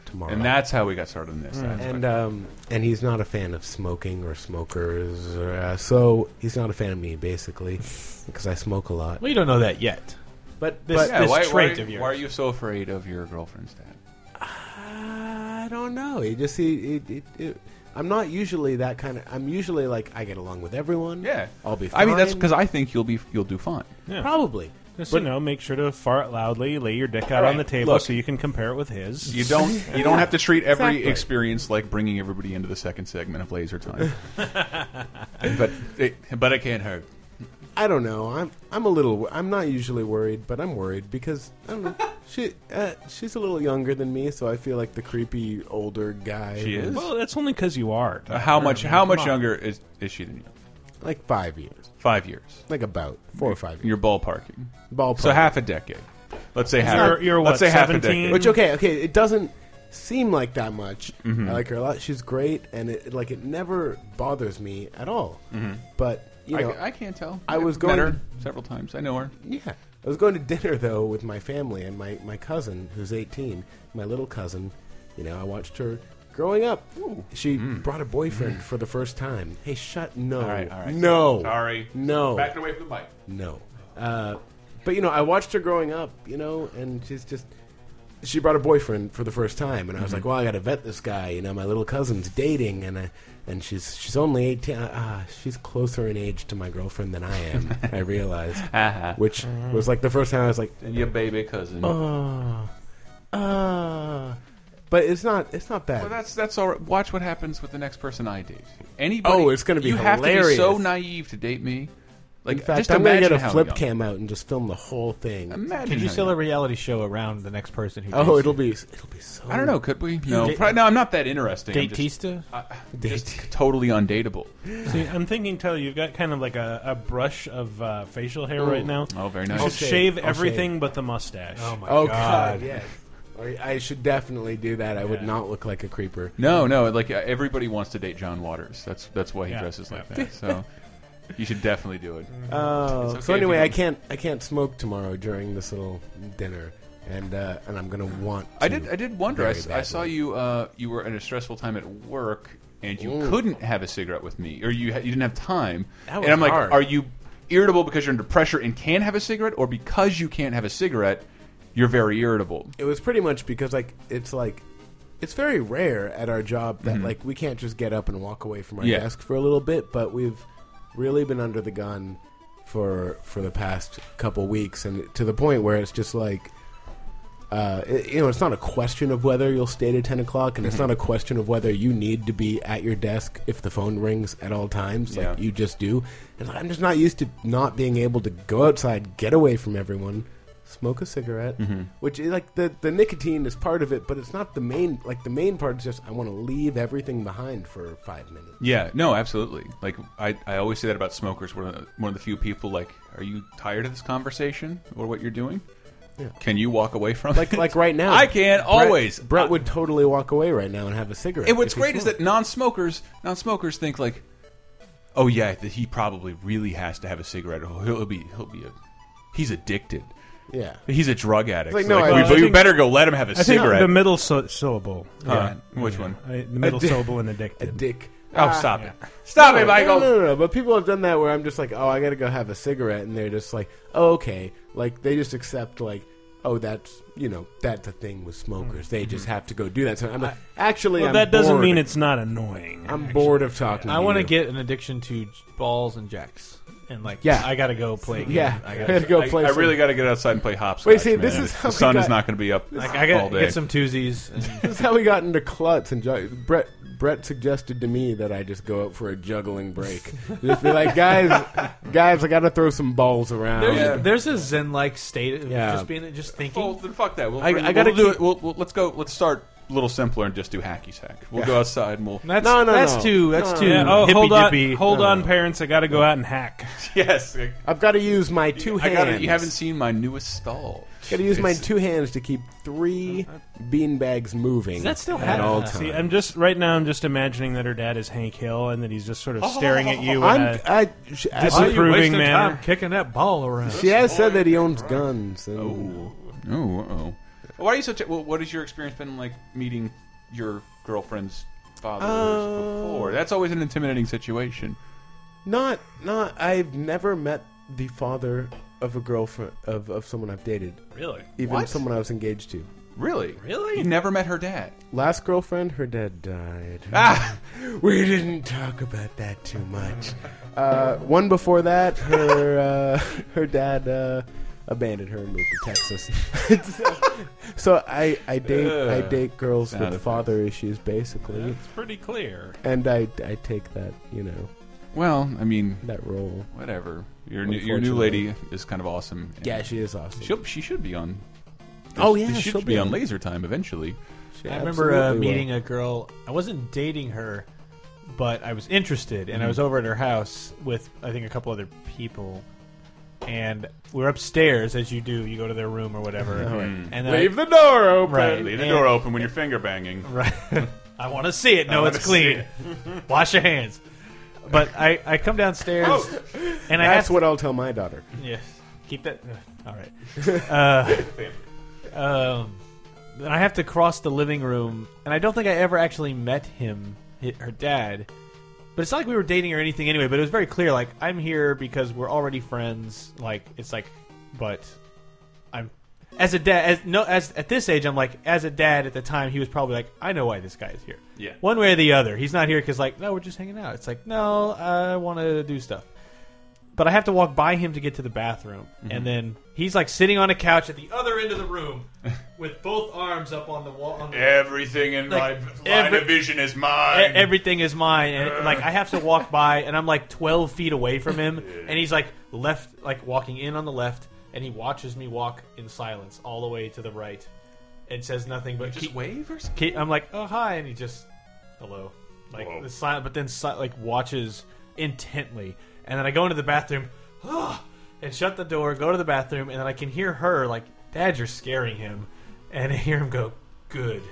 Speaker 4: tomorrow.
Speaker 3: And that's how we got started in this. That's
Speaker 4: and um and he's not a fan of smoking or smokers, or, uh, so he's not a fan of me basically because I smoke a lot.
Speaker 6: Well, you don't know that yet.
Speaker 4: But
Speaker 6: this-
Speaker 4: but
Speaker 3: yeah, why, why-
Speaker 6: trait of yours.
Speaker 3: Why are you so afraid of your girlfriend's dad?
Speaker 4: I don't know. It just he it, it, it, I'm not usually that kind of. I'm usually like I get along with everyone.
Speaker 3: Yeah,
Speaker 4: I'll be.
Speaker 3: I mean, that's
Speaker 4: fine.
Speaker 3: because I think you'll be you'll do fine.
Speaker 4: probably.
Speaker 7: Just you know, make sure to fart loudly. Lay your dick out on the table
Speaker 3: look.
Speaker 7: so you can compare it with his.
Speaker 3: You don't you don't have to treat every
Speaker 4: Exactly.
Speaker 3: experience like bringing everybody into the second segment of Laser Time. but it, but it can't hurt.
Speaker 4: I don't know. I'm I'm a little. wor- I'm not usually worried, but I'm worried because I don't know. she uh, she's a little younger than me, so I feel like the creepy older guy.
Speaker 3: She is.
Speaker 7: Well, that's only because you are. Doc.
Speaker 3: How much how
Speaker 7: Come
Speaker 3: much
Speaker 7: on.
Speaker 3: younger is is she than you?
Speaker 4: like five years,
Speaker 3: Five years.
Speaker 4: like about four or five years.
Speaker 3: You're ballparking.
Speaker 4: Ballpark.
Speaker 3: So half a decade. Let's say half.
Speaker 7: You're- you're
Speaker 3: let's
Speaker 7: what,
Speaker 3: say half a
Speaker 7: 17?
Speaker 3: decade.
Speaker 4: Which okay, okay, it doesn't seem like that much.
Speaker 3: Mm-hmm.
Speaker 4: I like her a lot. She's great, and it like it never bothers me at all. But you know,
Speaker 3: Mm-hmm. I, I can't tell.
Speaker 4: I was
Speaker 3: I've
Speaker 4: going
Speaker 3: met her
Speaker 4: to-
Speaker 3: several times. I know her.
Speaker 4: Yeah. I was going to dinner though with my family and my, my cousin who's 18, my little cousin. You know, I watched her growing up. She brought a boyfriend for the first time. Hey, shut no.
Speaker 3: Mm. All right, all right.
Speaker 4: No.
Speaker 3: Sorry.
Speaker 4: No.
Speaker 3: Back away from the mic.
Speaker 4: No. Uh, but you know, I watched her growing up, you know, and she's just she brought a boyfriend for the first time, and I was
Speaker 3: Mm-hmm.
Speaker 4: like, "Well, I got to vet this guy." You know, my little cousin's dating, and I, and she's she's only eighteen. Ah, she's closer in age to my girlfriend than I am. I realized,
Speaker 3: Uh, Uh-huh.
Speaker 4: which was like the first time I was like,
Speaker 3: And your baby cousin.
Speaker 4: "Ah, ah," but it's not it's not bad.
Speaker 3: Well, that's that's all. Right. Watch what happens with the next person I date. Anybody?
Speaker 4: Oh, it's gonna be
Speaker 3: You have to be so
Speaker 4: hilarious.
Speaker 3: naive to date me. Like,
Speaker 4: In fact,
Speaker 3: just
Speaker 4: I'm gonna
Speaker 3: imagine
Speaker 4: get a
Speaker 3: how
Speaker 4: flip
Speaker 3: young.
Speaker 4: cam out and just film the whole thing.
Speaker 3: Imagine
Speaker 6: Could you
Speaker 3: how
Speaker 6: still
Speaker 3: young.
Speaker 6: a reality show around the next person who?
Speaker 4: Oh,
Speaker 6: dates
Speaker 4: it'll be it'll be so.
Speaker 3: I don't know. Could we? No,
Speaker 6: Date-
Speaker 3: probably, no. I'm not that interesting. I'm just,
Speaker 6: Datista?
Speaker 3: just totally undateable.
Speaker 7: Uh, See, I'm thinking, tell you, you've got kind of like a, a brush of uh, facial hair right now.
Speaker 3: Oh, very nice.
Speaker 7: Just shave
Speaker 4: I'll
Speaker 7: everything but the mustache.
Speaker 6: Oh my
Speaker 4: Oh
Speaker 6: god!
Speaker 4: God, yes. I I should definitely do that. I would not look like a creeper.
Speaker 3: No, no. Like uh, everybody wants to date John Waters. That's that's why he
Speaker 7: Yeah.
Speaker 3: dresses like that. So you should definitely do it. Uh,
Speaker 4: Oh,
Speaker 3: It's
Speaker 4: so
Speaker 3: okay if
Speaker 4: anyway,
Speaker 3: you
Speaker 4: I
Speaker 3: don't-
Speaker 4: can't I can't smoke tomorrow during this little dinner, and uh, and I'm gonna want. To
Speaker 3: I did. I did wonder. I,
Speaker 4: very
Speaker 3: s- I saw
Speaker 4: badly.
Speaker 3: you. Uh, you were at a stressful time at work, and you couldn't have a cigarette with me, or you ha you didn't have time.
Speaker 4: was
Speaker 3: and I'm like,
Speaker 4: hard.
Speaker 3: are you irritable because you're under pressure and can't have a cigarette, or because you can't have a cigarette, you're very irritable?
Speaker 4: It was pretty much because like it's like it's very rare at our job that like we can't just get up and walk away from our
Speaker 3: Mm-hmm. Yeah.
Speaker 4: desk for a little bit, but we've really been under the gun for for the past couple weeks, and to the point where it's just like. Uh, it, you know, it's not a question of whether you'll stay to ten o'clock,
Speaker 3: Mm-hmm.
Speaker 4: and it's not a question of whether you need to be at your desk if the phone rings at all times. Like
Speaker 3: Yeah.
Speaker 4: you just do. It's like, I'm just not used to not being able to go outside, get away from everyone, smoke a cigarette,
Speaker 3: Mm-hmm.
Speaker 4: which is like the the nicotine is part of it, but it's not the main. Like the main part is just I want to leave everything behind for five minutes.
Speaker 3: Yeah, no, absolutely. Like I, I always say that about smokers. We're the- one of the few people. Like, are you tired of this conversation or what you're doing? Can you walk away from
Speaker 4: Like
Speaker 3: it?
Speaker 4: like right now,
Speaker 3: I can
Speaker 4: Brett-
Speaker 3: always.
Speaker 4: Brett
Speaker 3: I-
Speaker 4: would totally walk away right now and have a cigarette.
Speaker 3: And what's
Speaker 4: if he
Speaker 3: great is
Speaker 4: smoked.
Speaker 3: that non-smokers, non-smokers think like, oh yeah, th- he probably really has to have a cigarette. Or he'll be, he'll be a, he's addicted.
Speaker 4: yeah.
Speaker 3: He's a drug addict.
Speaker 4: Like, no, I-
Speaker 3: we,
Speaker 4: I
Speaker 3: we
Speaker 7: think-
Speaker 3: better go let him have a
Speaker 7: I think
Speaker 3: cigarette.
Speaker 7: the middle sy- syllable.
Speaker 3: Uh, which one?
Speaker 7: I, the middle
Speaker 4: di-
Speaker 7: syllable and addicted.
Speaker 4: Dick.
Speaker 3: Oh, stop it! Stop it, Michael!
Speaker 4: No, no, no, no. But people have done that where I'm just like, oh, I gotta go have a cigarette, and they're just like, oh, okay. Like they just accept like, oh, that's you know that's the thing with smokers. They just
Speaker 3: Mm-hmm.
Speaker 4: have to go do that. So I'm like, actually,
Speaker 7: well,
Speaker 4: I'm
Speaker 7: that doesn't
Speaker 4: bored.
Speaker 7: mean it's not annoying.
Speaker 4: I'm bored of talking.
Speaker 6: I want to
Speaker 4: you.
Speaker 6: get an addiction to j- balls and jacks, and like
Speaker 4: Yeah.
Speaker 6: I gotta go play. a game.
Speaker 4: Yeah,
Speaker 6: I
Speaker 4: I
Speaker 6: gotta,
Speaker 4: gotta go
Speaker 3: I,
Speaker 4: play.
Speaker 3: I
Speaker 4: some-
Speaker 3: really got to get outside and play hops.
Speaker 4: see, this is how
Speaker 3: the
Speaker 4: we
Speaker 3: sun is
Speaker 4: got-
Speaker 3: not going to be up.
Speaker 6: Like, I
Speaker 3: all
Speaker 6: gotta
Speaker 3: day.
Speaker 6: get some twosies. And,
Speaker 4: That's how we got into klutz and ju- Brett. Brett suggested to me that I just go out for a juggling break. just be like, guys, guys, I got to throw some balls around.
Speaker 6: there's,
Speaker 3: Yeah.
Speaker 6: there's a zen-like state of
Speaker 4: Yeah.
Speaker 6: just being, just thinking.
Speaker 3: Well, then fuck that. We'll,
Speaker 4: I-
Speaker 3: bring-
Speaker 4: I gotta
Speaker 3: we'll do
Speaker 4: keep-
Speaker 3: it. We'll, we'll, let's go. Let's start a little simpler and just do hacky sack. We'll go outside and we'll.
Speaker 6: That's,
Speaker 4: No, no,
Speaker 6: that's
Speaker 4: no.
Speaker 6: too. That's too.
Speaker 7: yeah, oh,
Speaker 6: hippy
Speaker 7: hold on,
Speaker 6: dippy.
Speaker 7: hold on, parents! I got to go out and hack.
Speaker 3: Oh. Yes, I,
Speaker 4: I've got to use my two
Speaker 3: I
Speaker 4: hands.
Speaker 3: gotta, you haven't seen my newest stall.
Speaker 4: Got to use my two hands to keep three beanbags moving.
Speaker 6: that still
Speaker 4: at
Speaker 6: happen?
Speaker 4: all
Speaker 6: Uh,
Speaker 4: times.
Speaker 7: See, I'm just right now. I'm just imagining that her dad is Hank Hill, and that he's just sort of staring at you. in
Speaker 4: I'm,
Speaker 7: a-
Speaker 4: I, sh- I,
Speaker 6: Why are you
Speaker 7: Disapproving
Speaker 6: wasting
Speaker 7: manner.
Speaker 6: time kicking that ball around?
Speaker 4: she has said that he owns guns. And
Speaker 3: Oh, oh, oh. Why are you such? A, well, what has your experience been like meeting your girlfriend's fathers before? That's always an intimidating situation.
Speaker 4: Not, not. I've never met the father of a girlfriend of, of someone I've dated,
Speaker 7: really?
Speaker 4: even
Speaker 3: What?
Speaker 4: someone I was engaged to.
Speaker 3: Really,
Speaker 6: Really?
Speaker 3: You never met her dad.
Speaker 4: Last girlfriend, her dad died.
Speaker 3: Ah,
Speaker 4: We didn't talk about that too much. Uh, one before that, her uh, her dad uh, abandoned her and moved to Texas. so I, I date I date girls
Speaker 3: Sound
Speaker 4: with
Speaker 3: effects.
Speaker 4: father issues basically,
Speaker 7: It's pretty clear.
Speaker 4: and I, I take that you know
Speaker 3: well, I mean,
Speaker 4: that role.
Speaker 3: whatever. Your new your new lady is kind of awesome. and
Speaker 4: Yeah, she is awesome.
Speaker 3: she'll, she should be on.
Speaker 4: Oh, yeah,
Speaker 3: she
Speaker 4: she'll
Speaker 3: should
Speaker 4: be
Speaker 3: be on
Speaker 4: on.
Speaker 3: Laser Time eventually.
Speaker 4: She
Speaker 6: I remember uh,
Speaker 4: absolutely will.
Speaker 6: meeting a girl. I wasn't dating her, but I was interested, and I
Speaker 4: Mm-hmm.
Speaker 6: was over at her house with I think a couple other people, and we are upstairs as you do. You go to their room or whatever,
Speaker 7: Mm.
Speaker 6: and then
Speaker 4: Leave the door open.
Speaker 6: Right.
Speaker 3: Leave
Speaker 6: Leave
Speaker 3: the
Speaker 6: the
Speaker 3: door
Speaker 6: door
Speaker 3: open when you're finger banging.
Speaker 6: I, I want to see it. No, it's clean. Wash your hands. But I, I come downstairs, and I
Speaker 4: Oh. That's
Speaker 6: ask
Speaker 4: what I'll tell my daughter.
Speaker 6: Yes. Keep that. uh, All right. Uh, um, and I have to cross the living room, and I don't think I ever actually met him, hi- her dad. But it's not like we were dating or anything anyway. But it was very clear, like I'm here because we're already friends. Like it's like, but I'm as a dad. As no, as at this age, I'm like as a dad at the time. He was probably like, I know why this guy is here.
Speaker 3: Yeah.
Speaker 6: One way or the other, he's not here because like no, we're just hanging out. It's like no, I want to do stuff But I have to walk by him to get to the bathroom, and then he's like sitting on a couch at the other end of the room, with both arms up on the wall. On the
Speaker 3: Everything in
Speaker 6: Like,
Speaker 3: my line
Speaker 6: every-
Speaker 3: of vision is
Speaker 6: e-
Speaker 3: mine.
Speaker 6: everything is mine and like i have to walk by and i'm like 12 feet away from him and he's like left like walking in on the left and he watches me walk in silence all the way to the right and says nothing but keep,
Speaker 3: wave or
Speaker 6: keep- i'm like oh hi and he just hello like the silent but then si- like watches intently and then i go into the bathroom and shut the door go to the bathroom and then i can hear her like dad you're scaring him and I hear him go good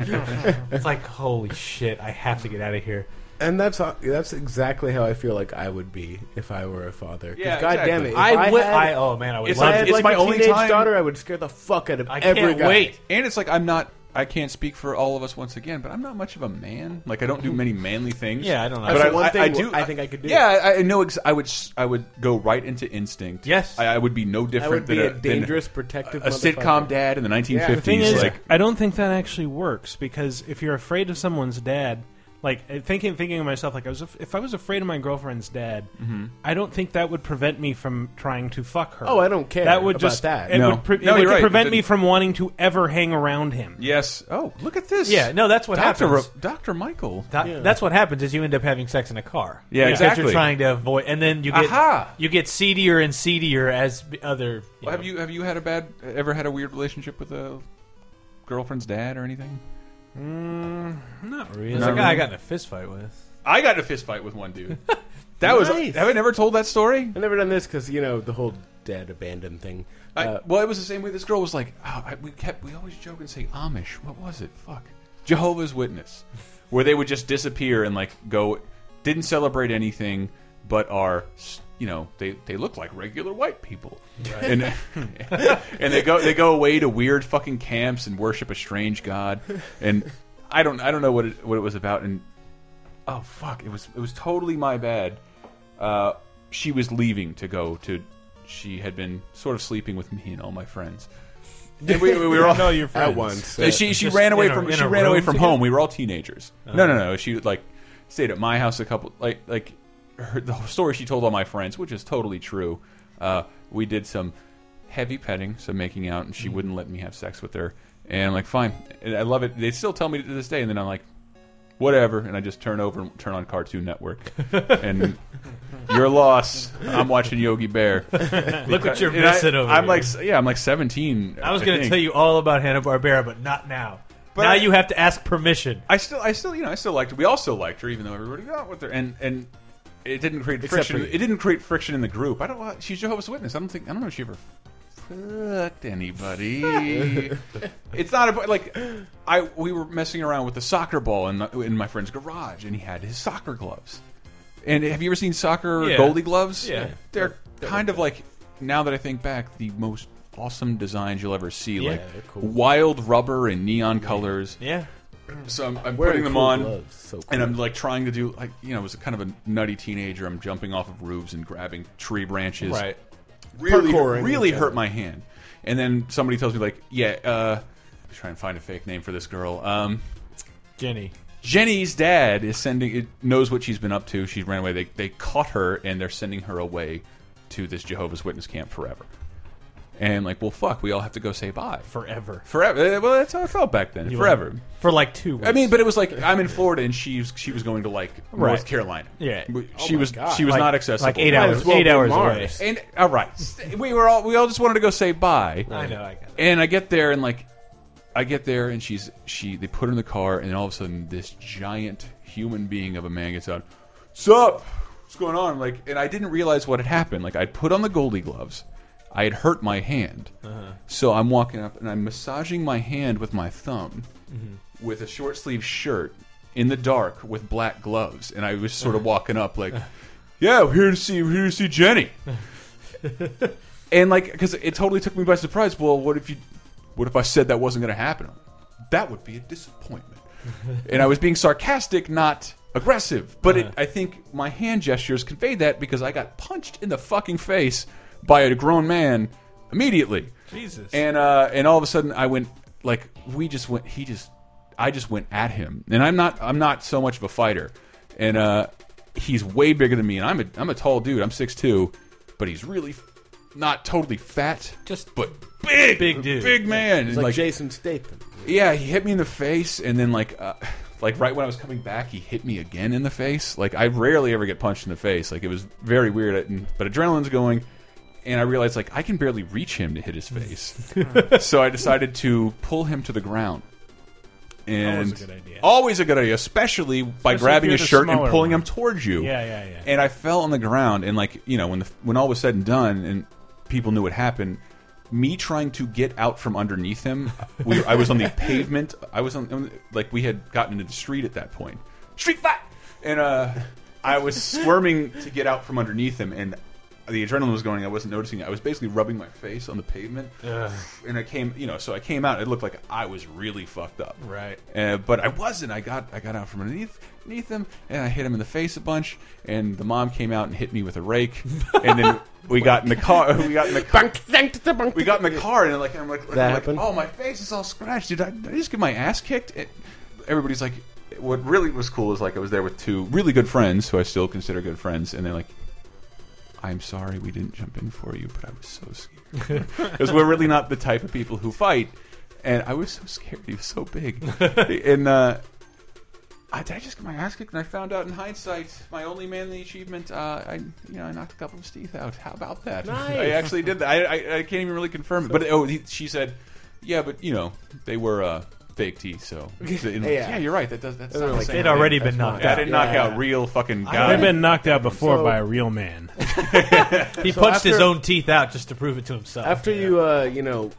Speaker 6: it's like holy shit i have to get out of here
Speaker 4: And that's how- that's exactly how I feel like I would be if I were a father. 'Cause
Speaker 3: Yeah,
Speaker 4: God
Speaker 3: exactly.
Speaker 4: damn it, if
Speaker 6: I, would.
Speaker 4: had-
Speaker 6: I, oh man, I would
Speaker 3: It's
Speaker 4: if I
Speaker 6: love
Speaker 4: had
Speaker 6: it.
Speaker 3: it's
Speaker 4: like
Speaker 3: my
Speaker 4: a
Speaker 3: only
Speaker 4: teenage
Speaker 3: time-
Speaker 4: daughter, I would scare the fuck out of
Speaker 6: I
Speaker 4: every
Speaker 6: can't
Speaker 4: guy.
Speaker 6: wait.
Speaker 3: And it's like I'm not. I can't speak for all of us once again, but I'm not much of a man. Like I don't do many manly things.
Speaker 6: Yeah, I don't know.
Speaker 3: But
Speaker 6: That's
Speaker 3: I,
Speaker 4: the one
Speaker 3: I-
Speaker 4: thing
Speaker 3: I do.
Speaker 4: I think I could do.
Speaker 3: Yeah, I, I know. Ex- I would. s- I would go right into instinct.
Speaker 6: Yes.
Speaker 3: I, I would be no
Speaker 4: I
Speaker 3: different
Speaker 4: would be
Speaker 3: than
Speaker 4: a dangerous, protective
Speaker 3: than a sitcom dad in the 1950s.
Speaker 7: The thing is,
Speaker 3: like
Speaker 7: I don't think that actually works because if you're afraid of someone's dad, like uh, thinking thinking of myself, like I was, af- if I was afraid of my girlfriend's dad,
Speaker 3: Mm-hmm.
Speaker 7: I don't think that would prevent me from trying to fuck her.
Speaker 4: Oh, I don't care
Speaker 7: That would
Speaker 4: about
Speaker 7: just
Speaker 4: that.
Speaker 7: It
Speaker 3: No.
Speaker 7: would, pre-
Speaker 3: No,
Speaker 7: it would
Speaker 3: you're right,
Speaker 7: prevent
Speaker 3: but
Speaker 7: me
Speaker 3: then-
Speaker 7: from wanting to ever hang around him.
Speaker 3: yes. Oh, look at this.
Speaker 6: Yeah, no, that's what
Speaker 3: Doctor
Speaker 6: happens.
Speaker 3: Doctor Michael.
Speaker 6: That- That's what happens is you end up having sex in a car.
Speaker 3: Yeah,
Speaker 6: because You're
Speaker 3: exactly.
Speaker 6: trying to avoid, and then you get
Speaker 3: Aha!
Speaker 6: you get seedier and seedier as b- other. You
Speaker 3: Well, have
Speaker 6: know.
Speaker 3: you have you had a bad ever had a weird relationship with a girlfriend's dad or anything?
Speaker 6: There's a
Speaker 3: Not
Speaker 6: guy I
Speaker 3: really.
Speaker 6: got in a fist fight with.
Speaker 3: I got in a fist fight with one dude. That was.
Speaker 4: Nice.
Speaker 3: Have I never told that story?
Speaker 4: I've never done this because you know the whole dad abandoned thing.
Speaker 3: I,
Speaker 4: Uh,
Speaker 3: well, it was the same way. This girl was like, oh, I, we kept we always joke and say Amish. What was it? Fuck, Jehovah's Witness, where they would just disappear and like go, didn't celebrate anything, but are s- you know they they look like regular white people, and and they go they go away to weird fucking camps and worship a strange god, and I don't I don't know what it, what it was about, and oh fuck, it was it was totally my bad. Uh, she was leaving to go to. She had been sort of sleeping with me and all my friends. And we, we were all
Speaker 6: No, you're
Speaker 4: at once,
Speaker 3: Uh, she she
Speaker 6: Just
Speaker 3: ran away
Speaker 6: in a-
Speaker 3: from
Speaker 6: in
Speaker 3: she
Speaker 6: a
Speaker 3: ran away
Speaker 6: room
Speaker 3: from
Speaker 6: together? Oh.
Speaker 3: home. We were all teenagers. No, no, no. She like stayed at my house a couple like like her, the story she told all my friends, which is totally true. Uh, we did some heavy petting, some making out, and she
Speaker 6: Mm-hmm.
Speaker 3: wouldn't let me have sex with her. And I'm like, fine, and I love it. They still tell me to this day, and then I'm like, whatever. And I just turn over and turn on Cartoon Network, and your loss. I'm watching Yogi Bear.
Speaker 6: Look what you're
Speaker 3: And I,
Speaker 6: missing over
Speaker 3: I'm
Speaker 6: here.
Speaker 3: like, yeah, I'm like 17.
Speaker 6: I was going to
Speaker 3: think.
Speaker 6: tell you all about Hanna Barbera, but not now. now
Speaker 3: I-
Speaker 6: you have to ask permission.
Speaker 3: I still, I still, you know, I still liked her. We all still liked her, even though everybody got with her, and and it didn't create
Speaker 4: Except
Speaker 3: friction.
Speaker 4: for you.
Speaker 3: It didn't create friction in the group. I don't. want- She's Jehovah's Witness. I don't think. I don't know if she ever fucked anybody. it's not about like I. We were messing around with the soccer ball in my, in my friend's garage, and he had his soccer gloves. And have you ever seen soccer
Speaker 6: Yeah.
Speaker 3: goldie gloves?
Speaker 6: Yeah.
Speaker 3: they're kind of like. Now that I think back, the most awesome designs you'll ever see, like
Speaker 4: they're cool.
Speaker 3: wild rubber and neon colors.
Speaker 6: Yeah,
Speaker 3: So I'm, I'm
Speaker 4: Wearing
Speaker 3: putting them
Speaker 4: cool
Speaker 3: on,
Speaker 4: gloves, so cool.
Speaker 3: and I'm like trying to do like you know, as a kind of a nutty teenager, I'm jumping off of roofs and grabbing tree branches.
Speaker 6: Right.
Speaker 3: Really,
Speaker 4: Parkouring.
Speaker 3: really hurt my hand. And then somebody tells me like, yeah, uh, let's try and find a fake name for this girl. Um,
Speaker 6: Jenny.
Speaker 3: Jenny's dad is sending. It knows what she's been up to. She ran away. They they caught her and they're sending her away to this Jehovah's Witness camp forever. And like, well, fuck, we all have to go say bye
Speaker 6: Forever
Speaker 3: forever. Uh, Well, that's how it felt back then. forever.
Speaker 6: for like two. Weeks.
Speaker 3: I mean, but it was like I'm in Florida, and she's she was going to like North
Speaker 6: Right.
Speaker 3: Carolina.
Speaker 6: Yeah. Oh
Speaker 3: she was
Speaker 4: God.
Speaker 3: she was
Speaker 6: Like-
Speaker 3: not accessible.
Speaker 6: Like eight
Speaker 4: Might
Speaker 6: hours.
Speaker 4: as well
Speaker 6: eight
Speaker 4: be
Speaker 6: hours
Speaker 4: Mars.
Speaker 6: away.
Speaker 3: And all right, we were all we all just wanted to go say bye.
Speaker 6: I know. I got it.
Speaker 3: And I get there, and like I get there, and she's she they put her in the car, and then all of a sudden this giant human being of a man gets out. Sup? What's going on? Like, and I didn't realize what had happened. Like, I'd put on the Goldie gloves. I had hurt my hand, so I'm walking up and I'm massaging my hand with my thumb with a short sleeve shirt in the dark with black gloves, and I was sort of walking up like, "Yeah, we're here to see, we're here to see Jenny," and like because it totally took me by surprise. Well, what if you, what if I said that wasn't going to happen? I'm like, That would be a disappointment. and I was being sarcastic, not aggressive, but it, I think my hand gestures conveyed that because I got punched in the fucking face by a grown man immediately.
Speaker 6: Jesus.
Speaker 3: And uh, and all of a sudden, I went like we just went. He just, I just went at him. And I'm not, I'm not so much of a fighter. And uh, he's way bigger than me. And I'm a, I'm a tall dude. I'm six two. but he's really f- not totally fat,
Speaker 7: Just
Speaker 3: but big,
Speaker 6: Big dude.
Speaker 3: big man.
Speaker 4: It's
Speaker 3: And,
Speaker 4: like,
Speaker 3: like,
Speaker 4: Jason Statham.
Speaker 3: yeah, he hit me in the face, and then like, uh, like right when I was coming back, he hit me again in the face. Like I rarely ever get punched in the face. Like it was very weird. And, but adrenaline's going, and I realized like I can barely reach him to hit his face. so I decided to pull him to the ground. And
Speaker 7: a good idea.
Speaker 3: always a good idea, especially by
Speaker 7: Especially if
Speaker 3: grabbing
Speaker 7: you're
Speaker 3: his
Speaker 7: the
Speaker 3: shirt and
Speaker 7: smaller
Speaker 3: pulling
Speaker 7: one.
Speaker 3: him towards you
Speaker 7: Yeah, yeah, yeah.
Speaker 3: and I fell on the ground and like you know when the when all was said and done and people knew what happened me trying to get out from underneath him we, I was on the pavement I was on- on like we had gotten into the street at that point street fight and uh I was squirming to get out from underneath him and the adrenaline was going I wasn't noticing it. I was basically rubbing my face on the pavement and I came you know so I came out it looked like I was really fucked up
Speaker 7: Right.
Speaker 3: uh, but I wasn't. I got I got out from underneath, underneath him, and I hit him in the face a bunch. And the mom came out and hit me with a rake. And then we got in the car. We got in the car. We got in the car, and like I'm like, I'm like,
Speaker 4: happened?
Speaker 3: oh my face is all scratched. Did I, did I just get my ass kicked? It, everybody's like, what really was cool is like I was there with two really good friends who I still consider good friends, and they're like. I'm sorry we didn't jump in for you, but I was so scared. Because we're really not the type of people who fight. And I was so scared. He was so big. and uh, I, did I just get my ass kicked? And I found out in hindsight, my only manly achievement, uh, I you know I knocked a couple of his teeth out. How about that? I actually did that. I, I, I can't even really confirm it. But oh, he, she said, yeah, but you know they were uh, fake teeth. So yeah. you're right. That does that's not the
Speaker 4: like-
Speaker 3: same.
Speaker 6: They'd already
Speaker 4: That's
Speaker 6: been
Speaker 4: not-
Speaker 6: knocked
Speaker 3: Yeah, I
Speaker 6: out.
Speaker 3: didn't knock out real fucking guy.
Speaker 7: I've been knocked out before
Speaker 4: So-
Speaker 7: by a real man.
Speaker 6: He punched his
Speaker 4: after-
Speaker 6: own teeth out just to prove it to himself.
Speaker 4: After you, uh, you know,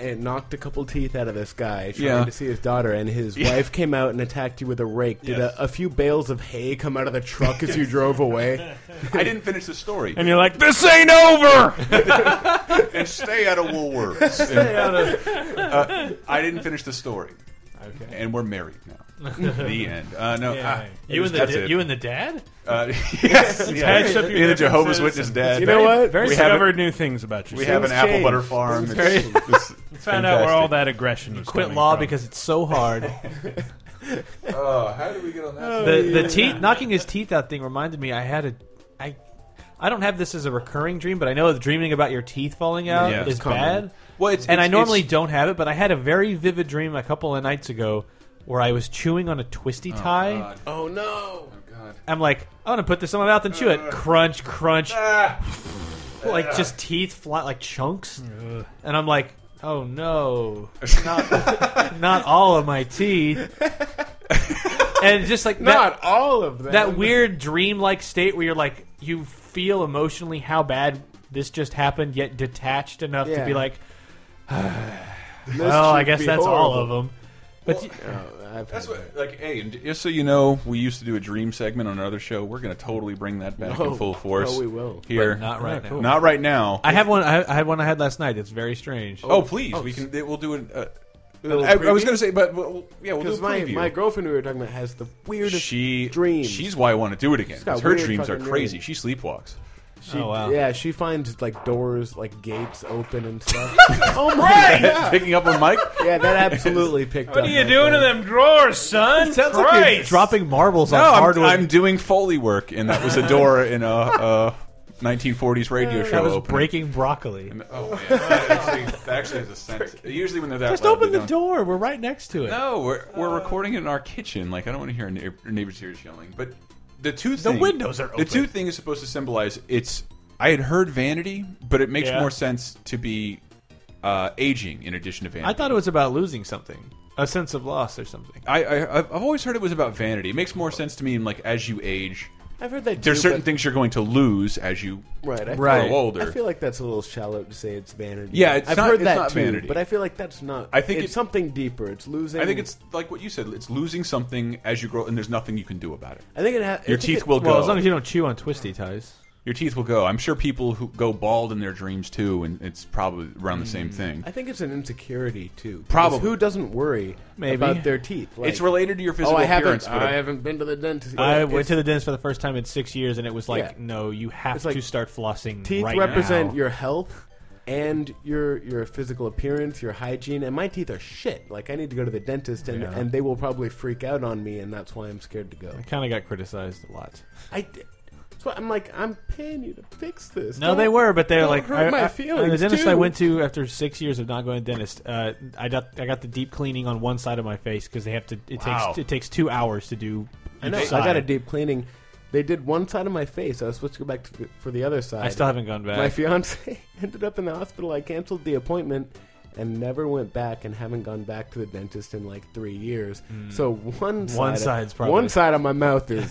Speaker 4: and knocked a couple teeth out of this guy trying
Speaker 3: Yeah.
Speaker 4: to see his daughter, and his wife came out and attacked you with a rake. Did
Speaker 3: Yes.
Speaker 4: a, a few bales of hay come out of the truck as you drove away?
Speaker 3: I didn't finish the story.
Speaker 7: And you're like, this ain't over!
Speaker 3: and stay out of Woolworths. stay out of. Uh, I didn't finish the story. Okay. And we're married now. the end. Uh, no. ah,
Speaker 6: you and the
Speaker 3: that's
Speaker 6: da-
Speaker 3: it.
Speaker 6: you and the dad?
Speaker 3: Uh, yes. yeah.
Speaker 7: Patch up your
Speaker 3: Me and the Jehovah's
Speaker 7: differences
Speaker 3: Witness
Speaker 7: and-
Speaker 3: dad.
Speaker 4: You know what?
Speaker 7: Very
Speaker 3: We haven't-
Speaker 7: discovered new things about yourself.
Speaker 3: We have an
Speaker 4: Things
Speaker 3: apple
Speaker 4: change.
Speaker 3: butter farm. It's,
Speaker 4: Things
Speaker 3: it's- it's
Speaker 7: found out where all
Speaker 3: fantastic.
Speaker 7: that aggression was
Speaker 6: Quit
Speaker 7: coming
Speaker 6: law
Speaker 7: from.
Speaker 6: because it's so hard.
Speaker 3: Oh, how did we get on that?
Speaker 6: the the teeth knocking his teeth out thing reminded me. I had a I I don't have this as a recurring dream, but I know that dreaming about your teeth falling out
Speaker 3: Yeah, it's
Speaker 6: is
Speaker 3: common.
Speaker 6: bad.
Speaker 3: Well, it's-
Speaker 6: and I
Speaker 3: it's-
Speaker 6: normally
Speaker 3: it's-
Speaker 6: don't have it, but I had a very vivid dream a couple of nights ago where I was chewing on a twisty tie.
Speaker 3: God.
Speaker 4: Oh no!
Speaker 3: God.
Speaker 6: I'm like, I'm gonna put this in my mouth and chew it. Crunch, crunch,
Speaker 3: Ah,
Speaker 6: like just teeth flat like chunks. And I'm like, oh no, not not all of my teeth. and just like that,
Speaker 4: Not all of them.
Speaker 6: that weird dream-like state where you're like you feel emotionally how bad this just happened yet detached enough to
Speaker 4: Yeah.
Speaker 6: be like
Speaker 4: This
Speaker 6: well i
Speaker 4: should
Speaker 6: guess
Speaker 4: be
Speaker 6: that's all
Speaker 4: horrible.
Speaker 6: of them but you-
Speaker 4: Oh, I've
Speaker 3: that's
Speaker 4: had
Speaker 3: what, like, hey, and just so you know, we used to do a dream segment on another show. We're going to totally bring that back
Speaker 4: No.
Speaker 3: in full force.
Speaker 4: No, we will.
Speaker 3: Here.
Speaker 6: not right now
Speaker 3: Not right now.
Speaker 6: i have one I, I had one i had last night it's very strange
Speaker 3: oh, please. we can. We'll do it. Uh,
Speaker 4: little
Speaker 3: I, I was
Speaker 4: preview?
Speaker 3: going to say, but we'll, yeah, we'll do a
Speaker 4: Because my,
Speaker 3: preview.
Speaker 4: my girlfriend we were talking about has the weirdest
Speaker 3: she
Speaker 4: dreams.
Speaker 3: She's why I want to do it again.
Speaker 4: got
Speaker 3: 'cause her
Speaker 4: weird
Speaker 3: dreams are
Speaker 4: fucking
Speaker 3: crazy.
Speaker 4: dreams.
Speaker 3: She sleepwalks.
Speaker 4: She-
Speaker 6: Oh, wow.
Speaker 4: Yeah, she finds like doors, like gates open and stuff.
Speaker 7: Oh, my!
Speaker 3: Picking up on Mike.
Speaker 4: yeah, that absolutely picked up.
Speaker 7: What are you
Speaker 4: my
Speaker 7: doing to
Speaker 4: friend.
Speaker 7: them drawers, son?
Speaker 6: sounds like you're
Speaker 7: Christ!
Speaker 6: dropping marbles
Speaker 3: No,
Speaker 6: on
Speaker 3: I'm,
Speaker 6: hardwood
Speaker 3: I'm doing Foley work, and that was a door in a, uh 1940s radio show.
Speaker 6: that was
Speaker 3: opening.
Speaker 6: breaking broccoli
Speaker 3: Oh man, that actually, that actually is a sense. Usually when they're that
Speaker 6: just
Speaker 3: loud,
Speaker 6: open
Speaker 3: they
Speaker 6: the
Speaker 3: don't-
Speaker 6: door we're right next to it
Speaker 3: No, we're we're recording it in our kitchen. Like I don't want to hear our neigh- our neighbors here yelling. But the two
Speaker 6: The
Speaker 3: thing-
Speaker 6: windows are
Speaker 3: The
Speaker 6: open.
Speaker 3: two thing is supposed to symbolize it's. I had heard vanity, but it makes
Speaker 6: Yeah.
Speaker 3: more sense to be uh, aging in addition to vanity.
Speaker 6: i thought it was about losing something a sense of loss or something
Speaker 3: I, I I've I've always heard it was about vanity. It makes more sense to me. In like as you age,
Speaker 4: I've heard that.
Speaker 3: there's
Speaker 4: too,
Speaker 3: certain
Speaker 4: but-
Speaker 3: things you're going to lose as you
Speaker 4: Right, I feel-
Speaker 3: grow
Speaker 6: Right.
Speaker 3: older.
Speaker 4: I feel like that's a little shallow to say it's vanity.
Speaker 3: Yeah, it's
Speaker 4: I've
Speaker 3: not-
Speaker 4: heard
Speaker 3: it's
Speaker 4: that
Speaker 3: not
Speaker 4: too,
Speaker 3: vanity.
Speaker 4: but I feel like that's not.
Speaker 3: I think
Speaker 4: it's
Speaker 3: it-
Speaker 4: something deeper. It's losing.
Speaker 3: I think it's like what you said. It's losing something as you grow, and there's nothing you can do about it.
Speaker 4: I think it. Ha- I
Speaker 3: Your
Speaker 4: think
Speaker 3: teeth
Speaker 4: it-
Speaker 3: will
Speaker 6: well
Speaker 3: go.
Speaker 6: as long as you don't chew on twisty ties
Speaker 3: Your teeth will go. I'm sure people who go bald in their dreams too, and it's probably around the same thing.
Speaker 4: I think it's an insecurity too. Because
Speaker 3: Probably.
Speaker 4: Who doesn't worry
Speaker 6: Maybe.
Speaker 4: about their teeth? Like,
Speaker 3: it's related to your
Speaker 4: Oh,
Speaker 3: physical
Speaker 4: I
Speaker 3: appearance.
Speaker 4: haven't.
Speaker 3: but
Speaker 4: I haven't been to the dentist.
Speaker 6: I
Speaker 4: It's-
Speaker 6: went to the dentist for the first time in six years, and it was like,
Speaker 4: Yeah.
Speaker 6: no, you have
Speaker 4: It's like
Speaker 6: to start flossing.
Speaker 4: Teeth
Speaker 6: right
Speaker 4: represent
Speaker 6: now.
Speaker 4: your health and your your physical appearance, your hygiene, and my teeth are shit. Like I need to go to the dentist, and, and they will probably freak out on me, and that's why I'm scared to go.
Speaker 6: I kind of got criticized a lot.
Speaker 4: I, d- That's why I'm like, I'm paying you to fix this.
Speaker 6: No,
Speaker 4: Don't-
Speaker 6: they were, but they're
Speaker 4: don't
Speaker 6: like
Speaker 4: hurt
Speaker 6: I-
Speaker 4: my
Speaker 6: I-
Speaker 4: feelings,
Speaker 6: the dentist I
Speaker 4: too.
Speaker 6: went to after six years of not going to the dentist, uh, I got I got the deep cleaning on one side of my face because they have to. It
Speaker 3: Wow.
Speaker 6: takes it takes two hours to do.
Speaker 4: I know.
Speaker 6: each
Speaker 4: I
Speaker 6: side.
Speaker 4: got a deep cleaning. They did one side of my face. I was supposed to go back to the, for the other side.
Speaker 6: I still haven't gone
Speaker 4: My
Speaker 6: back.
Speaker 4: fiance ended up in the hospital. I canceled the appointment and never went back and haven't gone back to the dentist in like three years. So one side
Speaker 6: side's probably-
Speaker 4: one side of my mouth is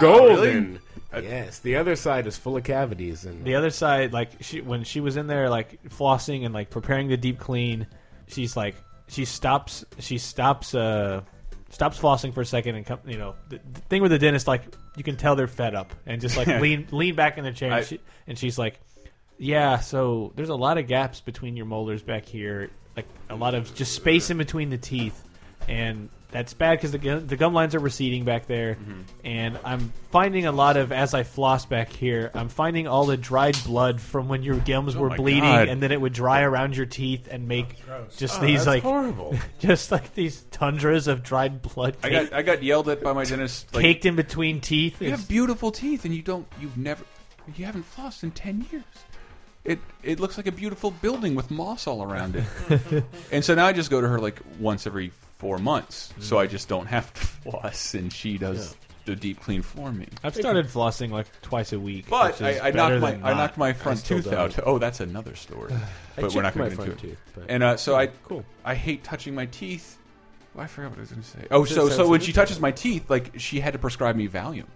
Speaker 4: golden. Yes, the other side is full of cavities and
Speaker 6: the other side, like she when she was in there, like flossing and like preparing the deep clean, she's like she stops she stops uh stops flossing for a second and come you know the, the thing with the dentist like you can tell they're fed up and just like lean lean back in their chair
Speaker 3: I-
Speaker 6: and, she, and she's like yeah so there's a lot of gaps between your molars back here like a lot of just space in between the teeth and that's bad because the, gu- the gum lines are receding back there
Speaker 3: Mm-hmm.
Speaker 6: and i'm finding a lot of as i floss back here i'm finding all the dried blood from when your gums were
Speaker 3: Oh my
Speaker 6: bleeding
Speaker 3: God. Oh,
Speaker 6: and then it would dry around your teeth and make just these like
Speaker 4: horrible.
Speaker 6: just like these tundras of dried blood
Speaker 3: I
Speaker 6: cake,
Speaker 3: got I got yelled at by my dentist. Like,
Speaker 6: caked in between teeth.
Speaker 3: you
Speaker 6: It's-
Speaker 3: have beautiful teeth, and you don't. You've never. You haven't flossed in ten years. It it looks like a beautiful building with moss all around it. and so now I just go to her like once every four months, so
Speaker 6: Hmm.
Speaker 3: I just don't have to floss, and she does the deep clean for me.
Speaker 6: I've started flossing like twice a week.
Speaker 3: But
Speaker 6: which is
Speaker 3: I, I
Speaker 6: better
Speaker 3: knocked my
Speaker 6: than
Speaker 3: I
Speaker 6: not.
Speaker 3: knocked my front
Speaker 4: still
Speaker 3: tooth
Speaker 4: don't.
Speaker 3: out. Oh, that's another story. but we're not
Speaker 4: chipped
Speaker 3: going
Speaker 4: my
Speaker 3: to get
Speaker 4: front
Speaker 3: into it.
Speaker 4: tooth, but-
Speaker 3: and uh, so I
Speaker 4: cool.
Speaker 3: I hate touching my teeth. I forgot what I was going to say. Oh,
Speaker 4: Just
Speaker 3: so
Speaker 4: sounds
Speaker 3: so when
Speaker 4: like
Speaker 3: she
Speaker 4: a-
Speaker 3: touches my teeth, like she had to prescribe me Valium.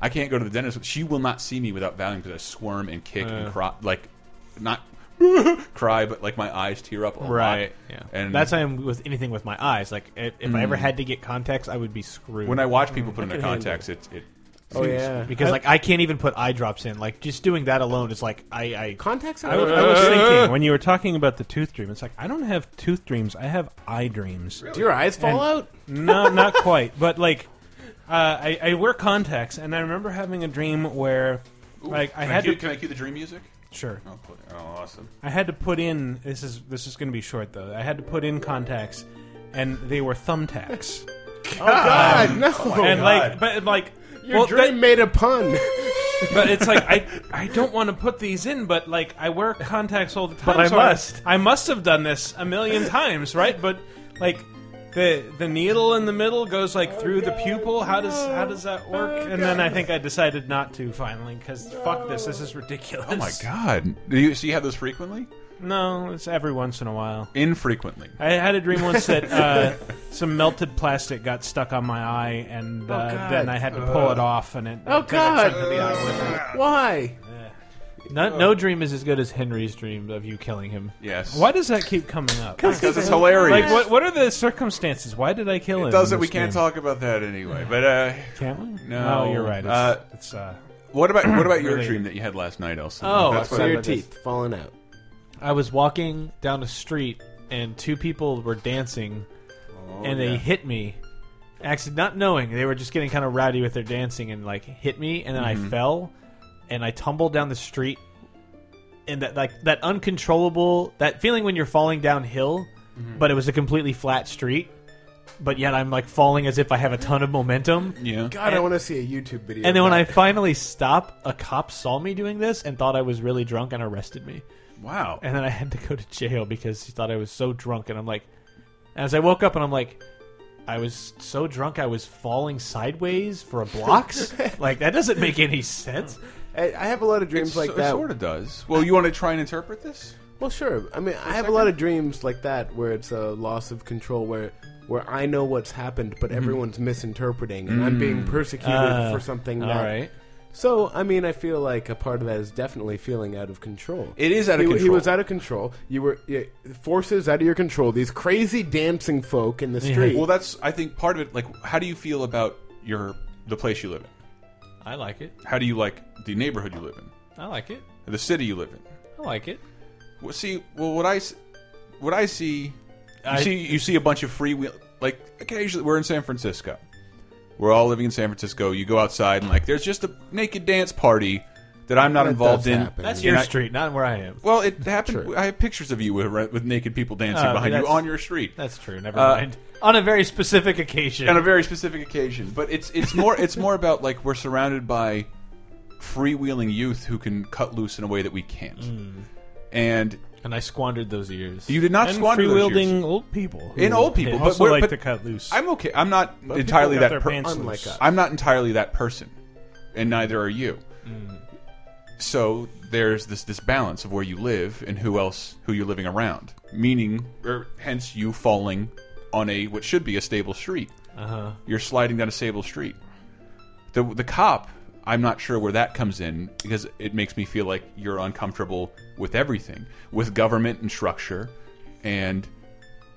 Speaker 3: I can't go to the dentist. She will not see me without Valium because I squirm and kick and cry, like not cry, but like my eyes tear up. A lot.
Speaker 6: right. Yeah,
Speaker 3: and Mm.
Speaker 6: that's how I'm with anything with my eyes. Like if, if I ever had to get contacts, I would be screwed.
Speaker 3: when I watch
Speaker 7: Mm-hmm.
Speaker 3: people put in their
Speaker 4: can handle
Speaker 3: contacts, it it
Speaker 4: oh yeah.
Speaker 6: because like I can't even put eye drops in. Like just doing that alone is like I I
Speaker 4: Contacts
Speaker 7: I was, I was thinking Uh. when you were talking about the tooth dream. It's like I don't have tooth dreams. I have eye dreams.
Speaker 4: Do Oh, your eyes fall
Speaker 7: And-
Speaker 4: out?
Speaker 7: no, not quite. But like, uh, I, I wear contacts, and I remember having a dream where, like, I
Speaker 3: Can
Speaker 7: had
Speaker 3: cue,
Speaker 7: to
Speaker 3: can I cue the dream music?
Speaker 7: sure,
Speaker 3: Oh, cool. oh awesome.
Speaker 7: I had to put in. This is this is going to be short though. I had to put in contacts, and they were thumbtacks.
Speaker 4: Oh, God, no.
Speaker 7: and like, but like,
Speaker 4: your
Speaker 7: well,
Speaker 4: dream made a pun.
Speaker 7: that- but it's like I I don't want to put these in, but like I wear contacts all the time.
Speaker 6: But I
Speaker 7: so
Speaker 6: must.
Speaker 7: I must have done this a million times, right? But like. The, the needle in the middle goes like through the pupil. How does how does that work? and then I think I decided not to finally because fuck this. This is ridiculous.
Speaker 3: Oh my god! Do you so you have those frequently?
Speaker 7: No, it's every once in a while.
Speaker 3: Infrequently.
Speaker 7: I had a dream once that uh, some melted plastic got stuck on my eye, and
Speaker 3: Oh,
Speaker 7: uh,
Speaker 4: God.
Speaker 7: then I had to pull
Speaker 3: Uh.
Speaker 7: it off, and it
Speaker 4: Oh,
Speaker 7: then I checked
Speaker 4: God.
Speaker 7: the eye with it.
Speaker 4: Why?
Speaker 6: no, no dream is as good as Henry's dream of you killing him.
Speaker 3: Yes.
Speaker 7: Why does that keep coming up?
Speaker 3: Because it's hilarious.
Speaker 7: Like, what? What are the circumstances? Why did I kill him?
Speaker 3: It
Speaker 7: in
Speaker 3: doesn't.
Speaker 7: this
Speaker 3: We can't
Speaker 7: dream?
Speaker 3: talk about that anyway. But uh,
Speaker 7: Can't we?
Speaker 3: No.
Speaker 7: Oh, you're right. It's,
Speaker 3: Uh,
Speaker 7: it's uh,
Speaker 3: what about what about your
Speaker 7: Really?
Speaker 3: dream that you had last night, Elsa?
Speaker 6: Oh,
Speaker 3: That's
Speaker 6: I
Speaker 3: what
Speaker 4: So
Speaker 6: see.
Speaker 4: your
Speaker 6: about this.
Speaker 4: teeth falling out.
Speaker 6: I was walking down the street and two people were dancing and they hit me. Actually, not knowing. They were just getting kind of rowdy with their dancing and like hit me and then I fell and I tumbled down the street and that like that uncontrollable that feeling when you're falling downhill but it was a completely flat street but yet I'm like falling as if I have a ton of momentum.
Speaker 3: yeah.
Speaker 4: God, I want to see a YouTube video.
Speaker 6: And then
Speaker 4: of
Speaker 6: when I
Speaker 4: that.
Speaker 6: finally stop, a cop saw me doing this and thought I was really drunk and arrested me
Speaker 3: Wow.
Speaker 6: and then I had to go to jail because he thought I was so drunk. And I'm like, as I woke up, and I'm like, I was so drunk I was falling sideways for a blocks. like that doesn't make any sense.
Speaker 4: I, I have a lot of dreams
Speaker 3: It's
Speaker 4: like
Speaker 3: so-
Speaker 4: that.
Speaker 3: It sort of does. Well, you want to try and interpret this?
Speaker 4: Well, sure. I mean, I have a lot of dreams like that where it's a loss of control, where where I know what's happened,
Speaker 3: Mhm.
Speaker 4: but everyone's misinterpreting, and I'm
Speaker 3: Mm.
Speaker 4: being persecuted
Speaker 3: Ah,
Speaker 4: for something.
Speaker 6: All
Speaker 4: that-
Speaker 6: right.
Speaker 4: So, I mean, I feel like a part of that is definitely feeling out of control.
Speaker 3: It is out of
Speaker 4: he, He
Speaker 3: control.
Speaker 4: was out of control. You were yeah, forces out of your control. These crazy dancing folk in the street.
Speaker 3: Well, that's I think part of it. Like, how do you feel about your the place you live in?
Speaker 6: I like it.
Speaker 3: How do you like the neighborhood you live in?
Speaker 6: I like it.
Speaker 3: The city you live in?
Speaker 6: I like it.
Speaker 3: Well, see, well, what I s- what I see, you
Speaker 6: I-
Speaker 3: see, you see a bunch of freewheel. Like occasionally, we're in San Francisco. We're all living in San Francisco. You go outside and like, there's just a naked dance party that I'm not
Speaker 4: That
Speaker 3: involved
Speaker 4: does
Speaker 3: in.
Speaker 4: happen.
Speaker 6: That's
Speaker 4: That's
Speaker 6: your
Speaker 3: your
Speaker 6: street, not where I am.
Speaker 3: Well, it happened.
Speaker 4: True.
Speaker 3: I have pictures of you with, with naked people dancing
Speaker 6: Uh,
Speaker 3: behind you
Speaker 6: that's-
Speaker 3: on your street
Speaker 6: That's true. Never
Speaker 3: Uh,
Speaker 6: mind. On a very specific occasion.
Speaker 3: on a very specific occasion. But it's it's more it's more about like we're surrounded by freewheeling youth who can cut loose in a way that we can't.
Speaker 6: Mm.
Speaker 3: And
Speaker 6: And I squandered those years.
Speaker 3: you did not
Speaker 7: and
Speaker 3: squander
Speaker 7: free
Speaker 3: those years.
Speaker 7: wielding old people
Speaker 3: And
Speaker 7: who
Speaker 3: old people, but
Speaker 7: also
Speaker 3: we're-
Speaker 7: like
Speaker 3: but
Speaker 7: to cut loose.
Speaker 3: I'm okay. I'm not entirely
Speaker 7: got
Speaker 3: that
Speaker 7: their
Speaker 3: person.
Speaker 7: pants
Speaker 4: Unlike
Speaker 7: loose.
Speaker 4: us.
Speaker 3: I'm not entirely that person, and neither are you.
Speaker 7: Mm.
Speaker 3: So there's this this balance of where you live and who else who you're living around, meaning or hence you falling on a what should be a stable street. Uh-huh. You're sliding down a stable street. The the cop, I'm not sure where that comes in because it makes me feel like you're uncomfortable with everything, with government and structure, and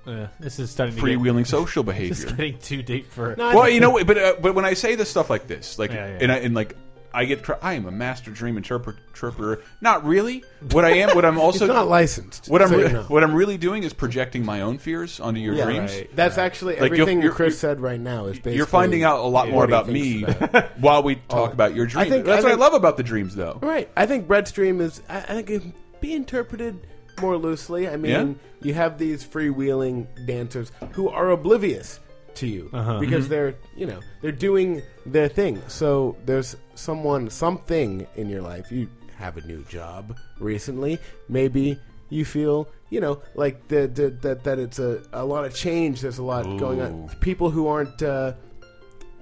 Speaker 6: Uh, this is starting to get,
Speaker 3: freewheeling social
Speaker 6: this is
Speaker 3: behavior.
Speaker 6: getting too deep for.
Speaker 3: Well, you know, but uh, but when I say this stuff like this, like,
Speaker 6: Yeah, yeah.
Speaker 3: and I, and like, I get, cr- I am a master dream interpre- interpreter. Not really. What I am, what I'm also,
Speaker 8: It's not licensed.
Speaker 3: what I'm,
Speaker 8: so
Speaker 3: re-
Speaker 8: you know.
Speaker 3: what I'm really doing is projecting my own fears onto your
Speaker 8: Yeah,
Speaker 3: dreams.
Speaker 4: That's actually
Speaker 3: Like, you're-
Speaker 4: everything
Speaker 3: you're-
Speaker 4: Chris
Speaker 3: you're-
Speaker 4: said right now is basically.
Speaker 3: You're finding out a lot more
Speaker 4: what he
Speaker 3: about me
Speaker 4: thinks about
Speaker 3: while we talk about your dreams.
Speaker 4: think-
Speaker 3: That's
Speaker 4: I
Speaker 3: what I
Speaker 4: think- Uh,
Speaker 3: love about the dreams, though.
Speaker 4: Right. I think Bread's dream is. I, I think it can be interpreted more loosely. I mean,
Speaker 3: Yeah.
Speaker 4: you have these freewheeling dancers who are oblivious to you because they're you know they're doing their thing. So there's someone, something in your life. You have a new job recently. Maybe you feel you know like the, the, that that it's a, a lot of change. There's a lot going on. People who aren't. Uh,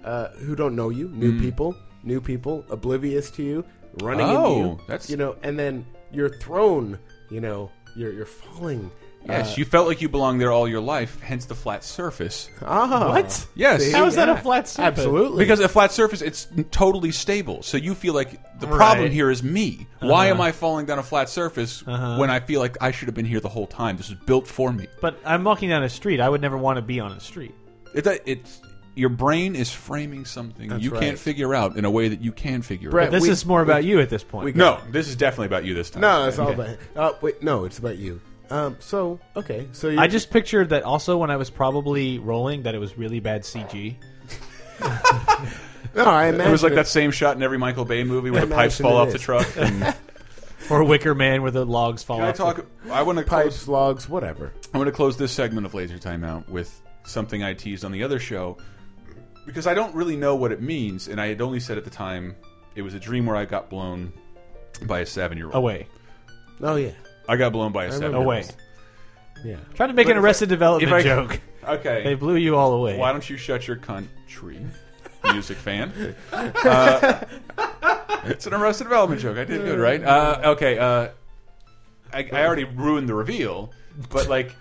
Speaker 4: uh, who don't know you,
Speaker 3: Hmm.
Speaker 4: new people, new people, oblivious to you, running
Speaker 3: Oh,
Speaker 4: into you.
Speaker 3: that's-
Speaker 4: you know, and then you're thrown. You know, you're you're falling.
Speaker 3: Yes, you felt like you belonged there all your life, hence the flat surface.
Speaker 4: Ah,
Speaker 6: What?
Speaker 3: Yes.
Speaker 6: How is that a
Speaker 4: Yeah.
Speaker 6: flat surface?
Speaker 4: Absolutely,
Speaker 3: Because a flat surface, it's totally stable. So you feel like the problem
Speaker 6: Right.
Speaker 3: here is me.
Speaker 4: Uh-huh.
Speaker 3: Why am I falling down a flat surface when I feel like I should have been here the whole time? This was built for me.
Speaker 6: But I'm walking down a street. I would never want to be on a street.
Speaker 3: It, it's your brain is framing something you can't
Speaker 4: right.
Speaker 3: figure out in a way that you can figure
Speaker 4: Brett,
Speaker 3: out.
Speaker 6: This
Speaker 4: we-
Speaker 6: is more about you at this point.
Speaker 3: No, this is definitely about you this time.
Speaker 4: no, it's all about. Oh wait, no, it's about you. Um, so okay, so you
Speaker 6: I just pictured that also when I was probably rolling that it was really bad CG.
Speaker 4: no, I imagine
Speaker 3: It was like that same shot in every Michael Bay movie where the pipes
Speaker 4: Imagine
Speaker 3: fall
Speaker 4: it
Speaker 3: off the
Speaker 4: is.
Speaker 3: truck. And can
Speaker 6: Or Wicker Man where the logs fall
Speaker 3: I
Speaker 6: off.
Speaker 3: talk? I want to close
Speaker 4: pipes, logs, whatever.
Speaker 3: I'm going to close this segment of Laser Time out with something I teased on the other show because I don't really know what it means, and I had only said at the time it was a dream where I got blown by a seven-year-old.
Speaker 6: away.
Speaker 4: Oh yeah,
Speaker 3: I got blown by a seven.
Speaker 6: Away.
Speaker 4: yeah.
Speaker 6: Trying to make an arrested development
Speaker 3: if I-
Speaker 6: joke.
Speaker 3: Okay.
Speaker 6: They blew you all away.
Speaker 3: Why don't you shut your country, music fan? Uh, it's an Arrested Development joke. I did good, right? Uh, okay. Uh, I, I already ruined the reveal, but like.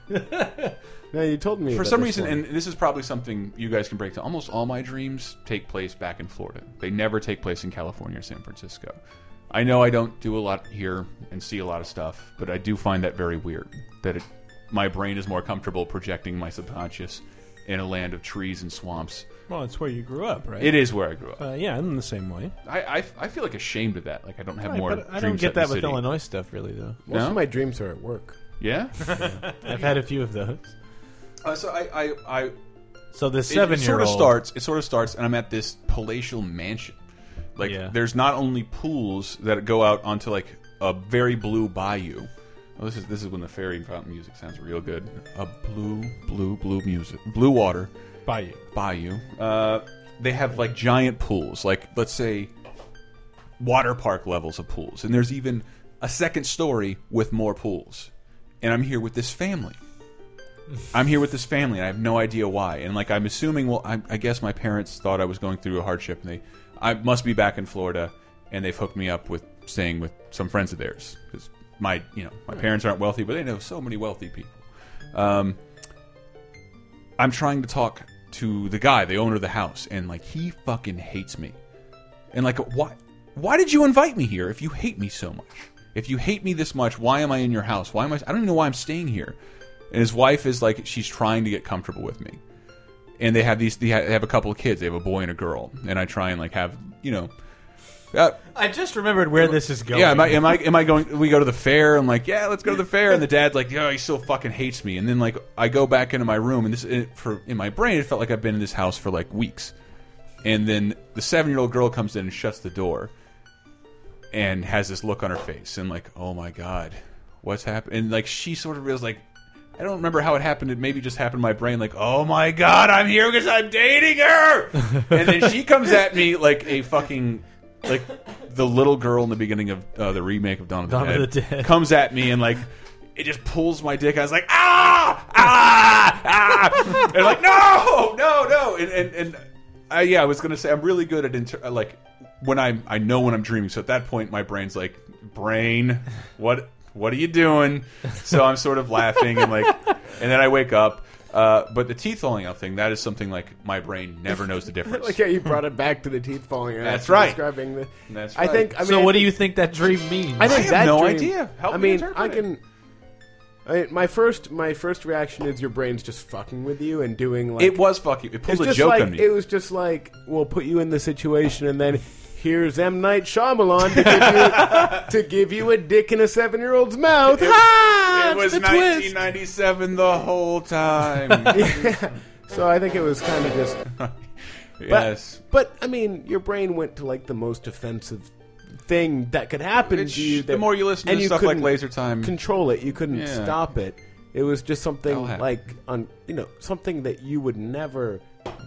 Speaker 4: No, you told me
Speaker 3: for
Speaker 4: about
Speaker 3: some
Speaker 4: this
Speaker 3: reason,
Speaker 4: one.
Speaker 3: and this is probably something you guys can break down. Almost all my dreams take place back in Florida. They never take place in California or San Francisco. I know I don't do a lot here and see a lot of stuff, but I do find that very weird. That it, my brain is more comfortable projecting my subconscious in a land of trees and swamps.
Speaker 7: well, it's where you grew up, right?
Speaker 3: It is where I grew up.
Speaker 7: Uh, yeah, I'm the same way.
Speaker 3: I, I, I feel like ashamed of that. Like I don't have more.
Speaker 6: I don't
Speaker 3: dreams
Speaker 6: get
Speaker 3: set in
Speaker 6: that
Speaker 3: the
Speaker 6: with
Speaker 3: city.
Speaker 6: Illinois stuff, really, though.
Speaker 4: most
Speaker 3: no?
Speaker 4: of my dreams are at work.
Speaker 3: Yeah.
Speaker 6: I've had a few of those.
Speaker 3: uh, so I, I, I
Speaker 6: So this
Speaker 3: It-
Speaker 6: seven
Speaker 3: it,
Speaker 6: year
Speaker 3: sort
Speaker 6: old
Speaker 3: of starts it sort of starts and i'm at this palatial mansion like
Speaker 6: Yeah.
Speaker 3: there's not only pools that go out onto like a very blue bayou oh, this is this is when the fairy fountain music sounds real good a blue blue blue music blue water
Speaker 7: Bayou.
Speaker 3: bayou uh, they have like giant pools like let's say water park levels of pools and there's even a second story with more pools and i'm here with this family I'm here with this family, and I have no idea why. And like, I'm assuming, well, I, I guess my parents thought I was going through a hardship, and they, I must be back in Florida, and they've hooked me up with staying with some friends of theirs because my, you know, my parents aren't wealthy, but they know so many wealthy people. Um, I'm trying to talk to the guy, the owner of the house, and like, he fucking hates me. And like, why? Why did you invite me here if you hate me so much? If you hate me this much, why am I in your house? Why am I? I don't even know why I'm staying here. And his wife is like, she's trying to get comfortable with me. And they have these. They ha- they have a couple of kids. They have a boy and a girl. And I try and like have you know. Uh,
Speaker 6: I just remembered where this is going.
Speaker 3: yeah, am I, am I am I going? We go to the fair. I'm like, yeah, let's go to the fair. And the dad's like, yeah, he still fucking hates me. And then like, I go back into my room, and this it, for in my brain, it felt like I've been in this house for like weeks. And then the seven year old girl comes in and shuts the door, and has this look on her face, and like, oh my god, what's happened? And like, she sort of realized like. I don't remember how it happened. It maybe just happened in my brain, like, oh my god, I'm here because I'm dating her. and then she comes at me like a fucking like the little girl in the beginning of uh, the remake of Dawn of the,
Speaker 6: Dawn of
Speaker 3: Dead
Speaker 6: the Dead.
Speaker 3: comes at me and like it just pulls my dick. I was like ah ah ah, and like no no no, and and, and I, yeah, I was gonna say I'm really good at inter like when I'm I know when I'm dreaming. So at that point, my brain's like brain what what are you doing? So I'm sort of laughing and like and then I wake up. Uh, but the teeth falling out thing, that is something like my brain never knows the difference.
Speaker 4: Like how you brought it back to the teeth falling out.
Speaker 3: That's
Speaker 4: after
Speaker 3: right.
Speaker 4: Describing the.
Speaker 3: That's
Speaker 4: I
Speaker 3: right.
Speaker 4: think. I mean,
Speaker 8: so
Speaker 4: I
Speaker 8: what do
Speaker 4: think-
Speaker 8: you think that dream means?
Speaker 4: I think
Speaker 3: have
Speaker 4: that
Speaker 3: no
Speaker 4: dream-
Speaker 3: idea. Help
Speaker 4: I
Speaker 3: me
Speaker 4: mean,
Speaker 3: interpret
Speaker 4: I
Speaker 3: it.
Speaker 4: can. I mean, my first, my first reaction is your brain's just fucking with you and doing like
Speaker 3: it was fucking. It
Speaker 4: It's
Speaker 3: pulled a
Speaker 4: just
Speaker 3: joke
Speaker 4: like
Speaker 3: on me.
Speaker 4: it was just like we'll put you in the situation and then here's M Night Shyamalan to give you, to give you a dick in a seven year old's mouth. Ah,
Speaker 3: It was 1997 the whole time.
Speaker 4: so I think it was kind of just.
Speaker 3: yes.
Speaker 4: But I mean, your brain went to like the most offensive thing that could happen
Speaker 3: It's-
Speaker 4: to you. That,
Speaker 3: the more you listen to
Speaker 4: and
Speaker 3: stuff like
Speaker 4: couldn't
Speaker 3: Laser Time-
Speaker 4: control it. You couldn't
Speaker 3: Yeah.
Speaker 4: stop it. It was just something
Speaker 3: That'll happen.
Speaker 4: like on you know something that you would never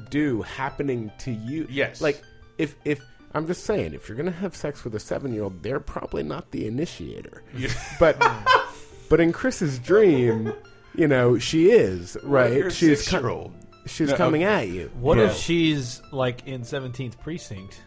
Speaker 4: do happening to you.
Speaker 3: Yes.
Speaker 4: like if if. I'm just saying, if you're gonna have sex with a seven-year-old, they're probably not the initiator. But, but in Chris's dream, you know, she is right. She's co-
Speaker 3: six-year-old. Uh,
Speaker 4: she's
Speaker 3: No,
Speaker 4: coming at you.
Speaker 8: what
Speaker 3: Yeah.
Speaker 8: if she's like in 17th precinct?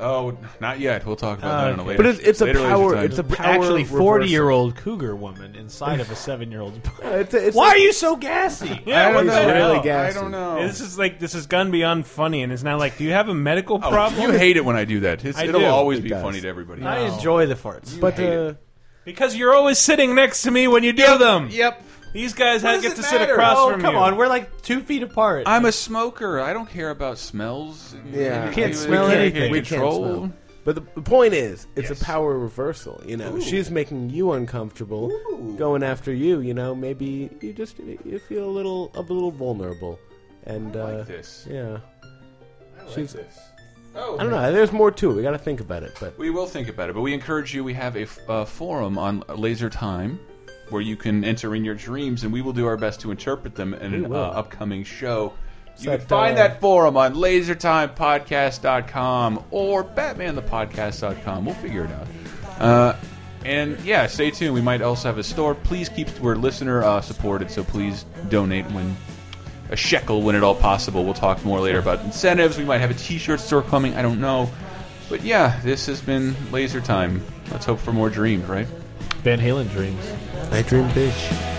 Speaker 3: Oh, not yet. We'll talk about that in a
Speaker 8: okay.
Speaker 3: later.
Speaker 4: But it's, it's a
Speaker 3: later Laser
Speaker 4: power.
Speaker 3: Time.
Speaker 4: It's a power
Speaker 8: Actually,
Speaker 4: reversal.
Speaker 8: 40 year old cougar woman inside of a 7 year old.
Speaker 4: It's a- it's
Speaker 8: Why
Speaker 4: a-
Speaker 8: are you so gassy?
Speaker 7: Yeah,
Speaker 3: I
Speaker 7: what
Speaker 3: don't
Speaker 7: the
Speaker 3: know.
Speaker 7: hell?
Speaker 4: really gassy.
Speaker 3: I don't know.
Speaker 7: This is like this has gone beyond funny, and it's now like, do you have a medical
Speaker 3: Oh,
Speaker 7: problem?
Speaker 3: You hate it when I do that. It's,
Speaker 7: I
Speaker 3: it'll
Speaker 7: do.
Speaker 3: always
Speaker 4: It
Speaker 3: be
Speaker 4: does.
Speaker 3: funny to everybody.
Speaker 8: I enjoy the farts.
Speaker 4: But
Speaker 3: hate
Speaker 4: uh,
Speaker 7: because you're always sitting next to me when you do them.
Speaker 3: Yep.
Speaker 7: These guys
Speaker 3: What
Speaker 7: had
Speaker 3: does
Speaker 7: get
Speaker 3: it
Speaker 7: to sit
Speaker 3: matter?
Speaker 7: across
Speaker 8: oh,
Speaker 7: from
Speaker 8: come
Speaker 7: you.
Speaker 8: on. We're like two feet apart.
Speaker 3: I'm a smoker. I don't care about smells.
Speaker 4: Yeah. You can't
Speaker 8: smell anything.
Speaker 4: We
Speaker 3: We
Speaker 4: can't
Speaker 3: control.
Speaker 4: smell. but the, the point is, it's a power reversal. You know, she's making you uncomfortable, going after you. You know, maybe you just you feel a little a little vulnerable, and uh,
Speaker 3: This.
Speaker 4: yeah, she's.
Speaker 3: Oh,
Speaker 4: I don't know. There's more to it. We got to think about it. But
Speaker 3: We will think about it, but we encourage you. We have a f- uh, forum on Laser Time where you can enter in your dreams, and we will do our best to interpret them in an uh,
Speaker 4: will.
Speaker 3: upcoming show. You
Speaker 4: that,
Speaker 3: can find
Speaker 4: uh,
Speaker 3: that forum on lasertimepodcast.com or batmanthepodcast.com. We'll figure it out. Uh, and yeah, stay tuned. We might also have a store. Please keep, we're listener uh, supported, so please donate when a shekel when at all possible. We'll talk more later about incentives. We might have a T-shirt store coming. I don't know, but yeah, this has been Laser Time. Let's hope for more dreams, right?
Speaker 8: Van Halen dreams.
Speaker 4: I dream bitch.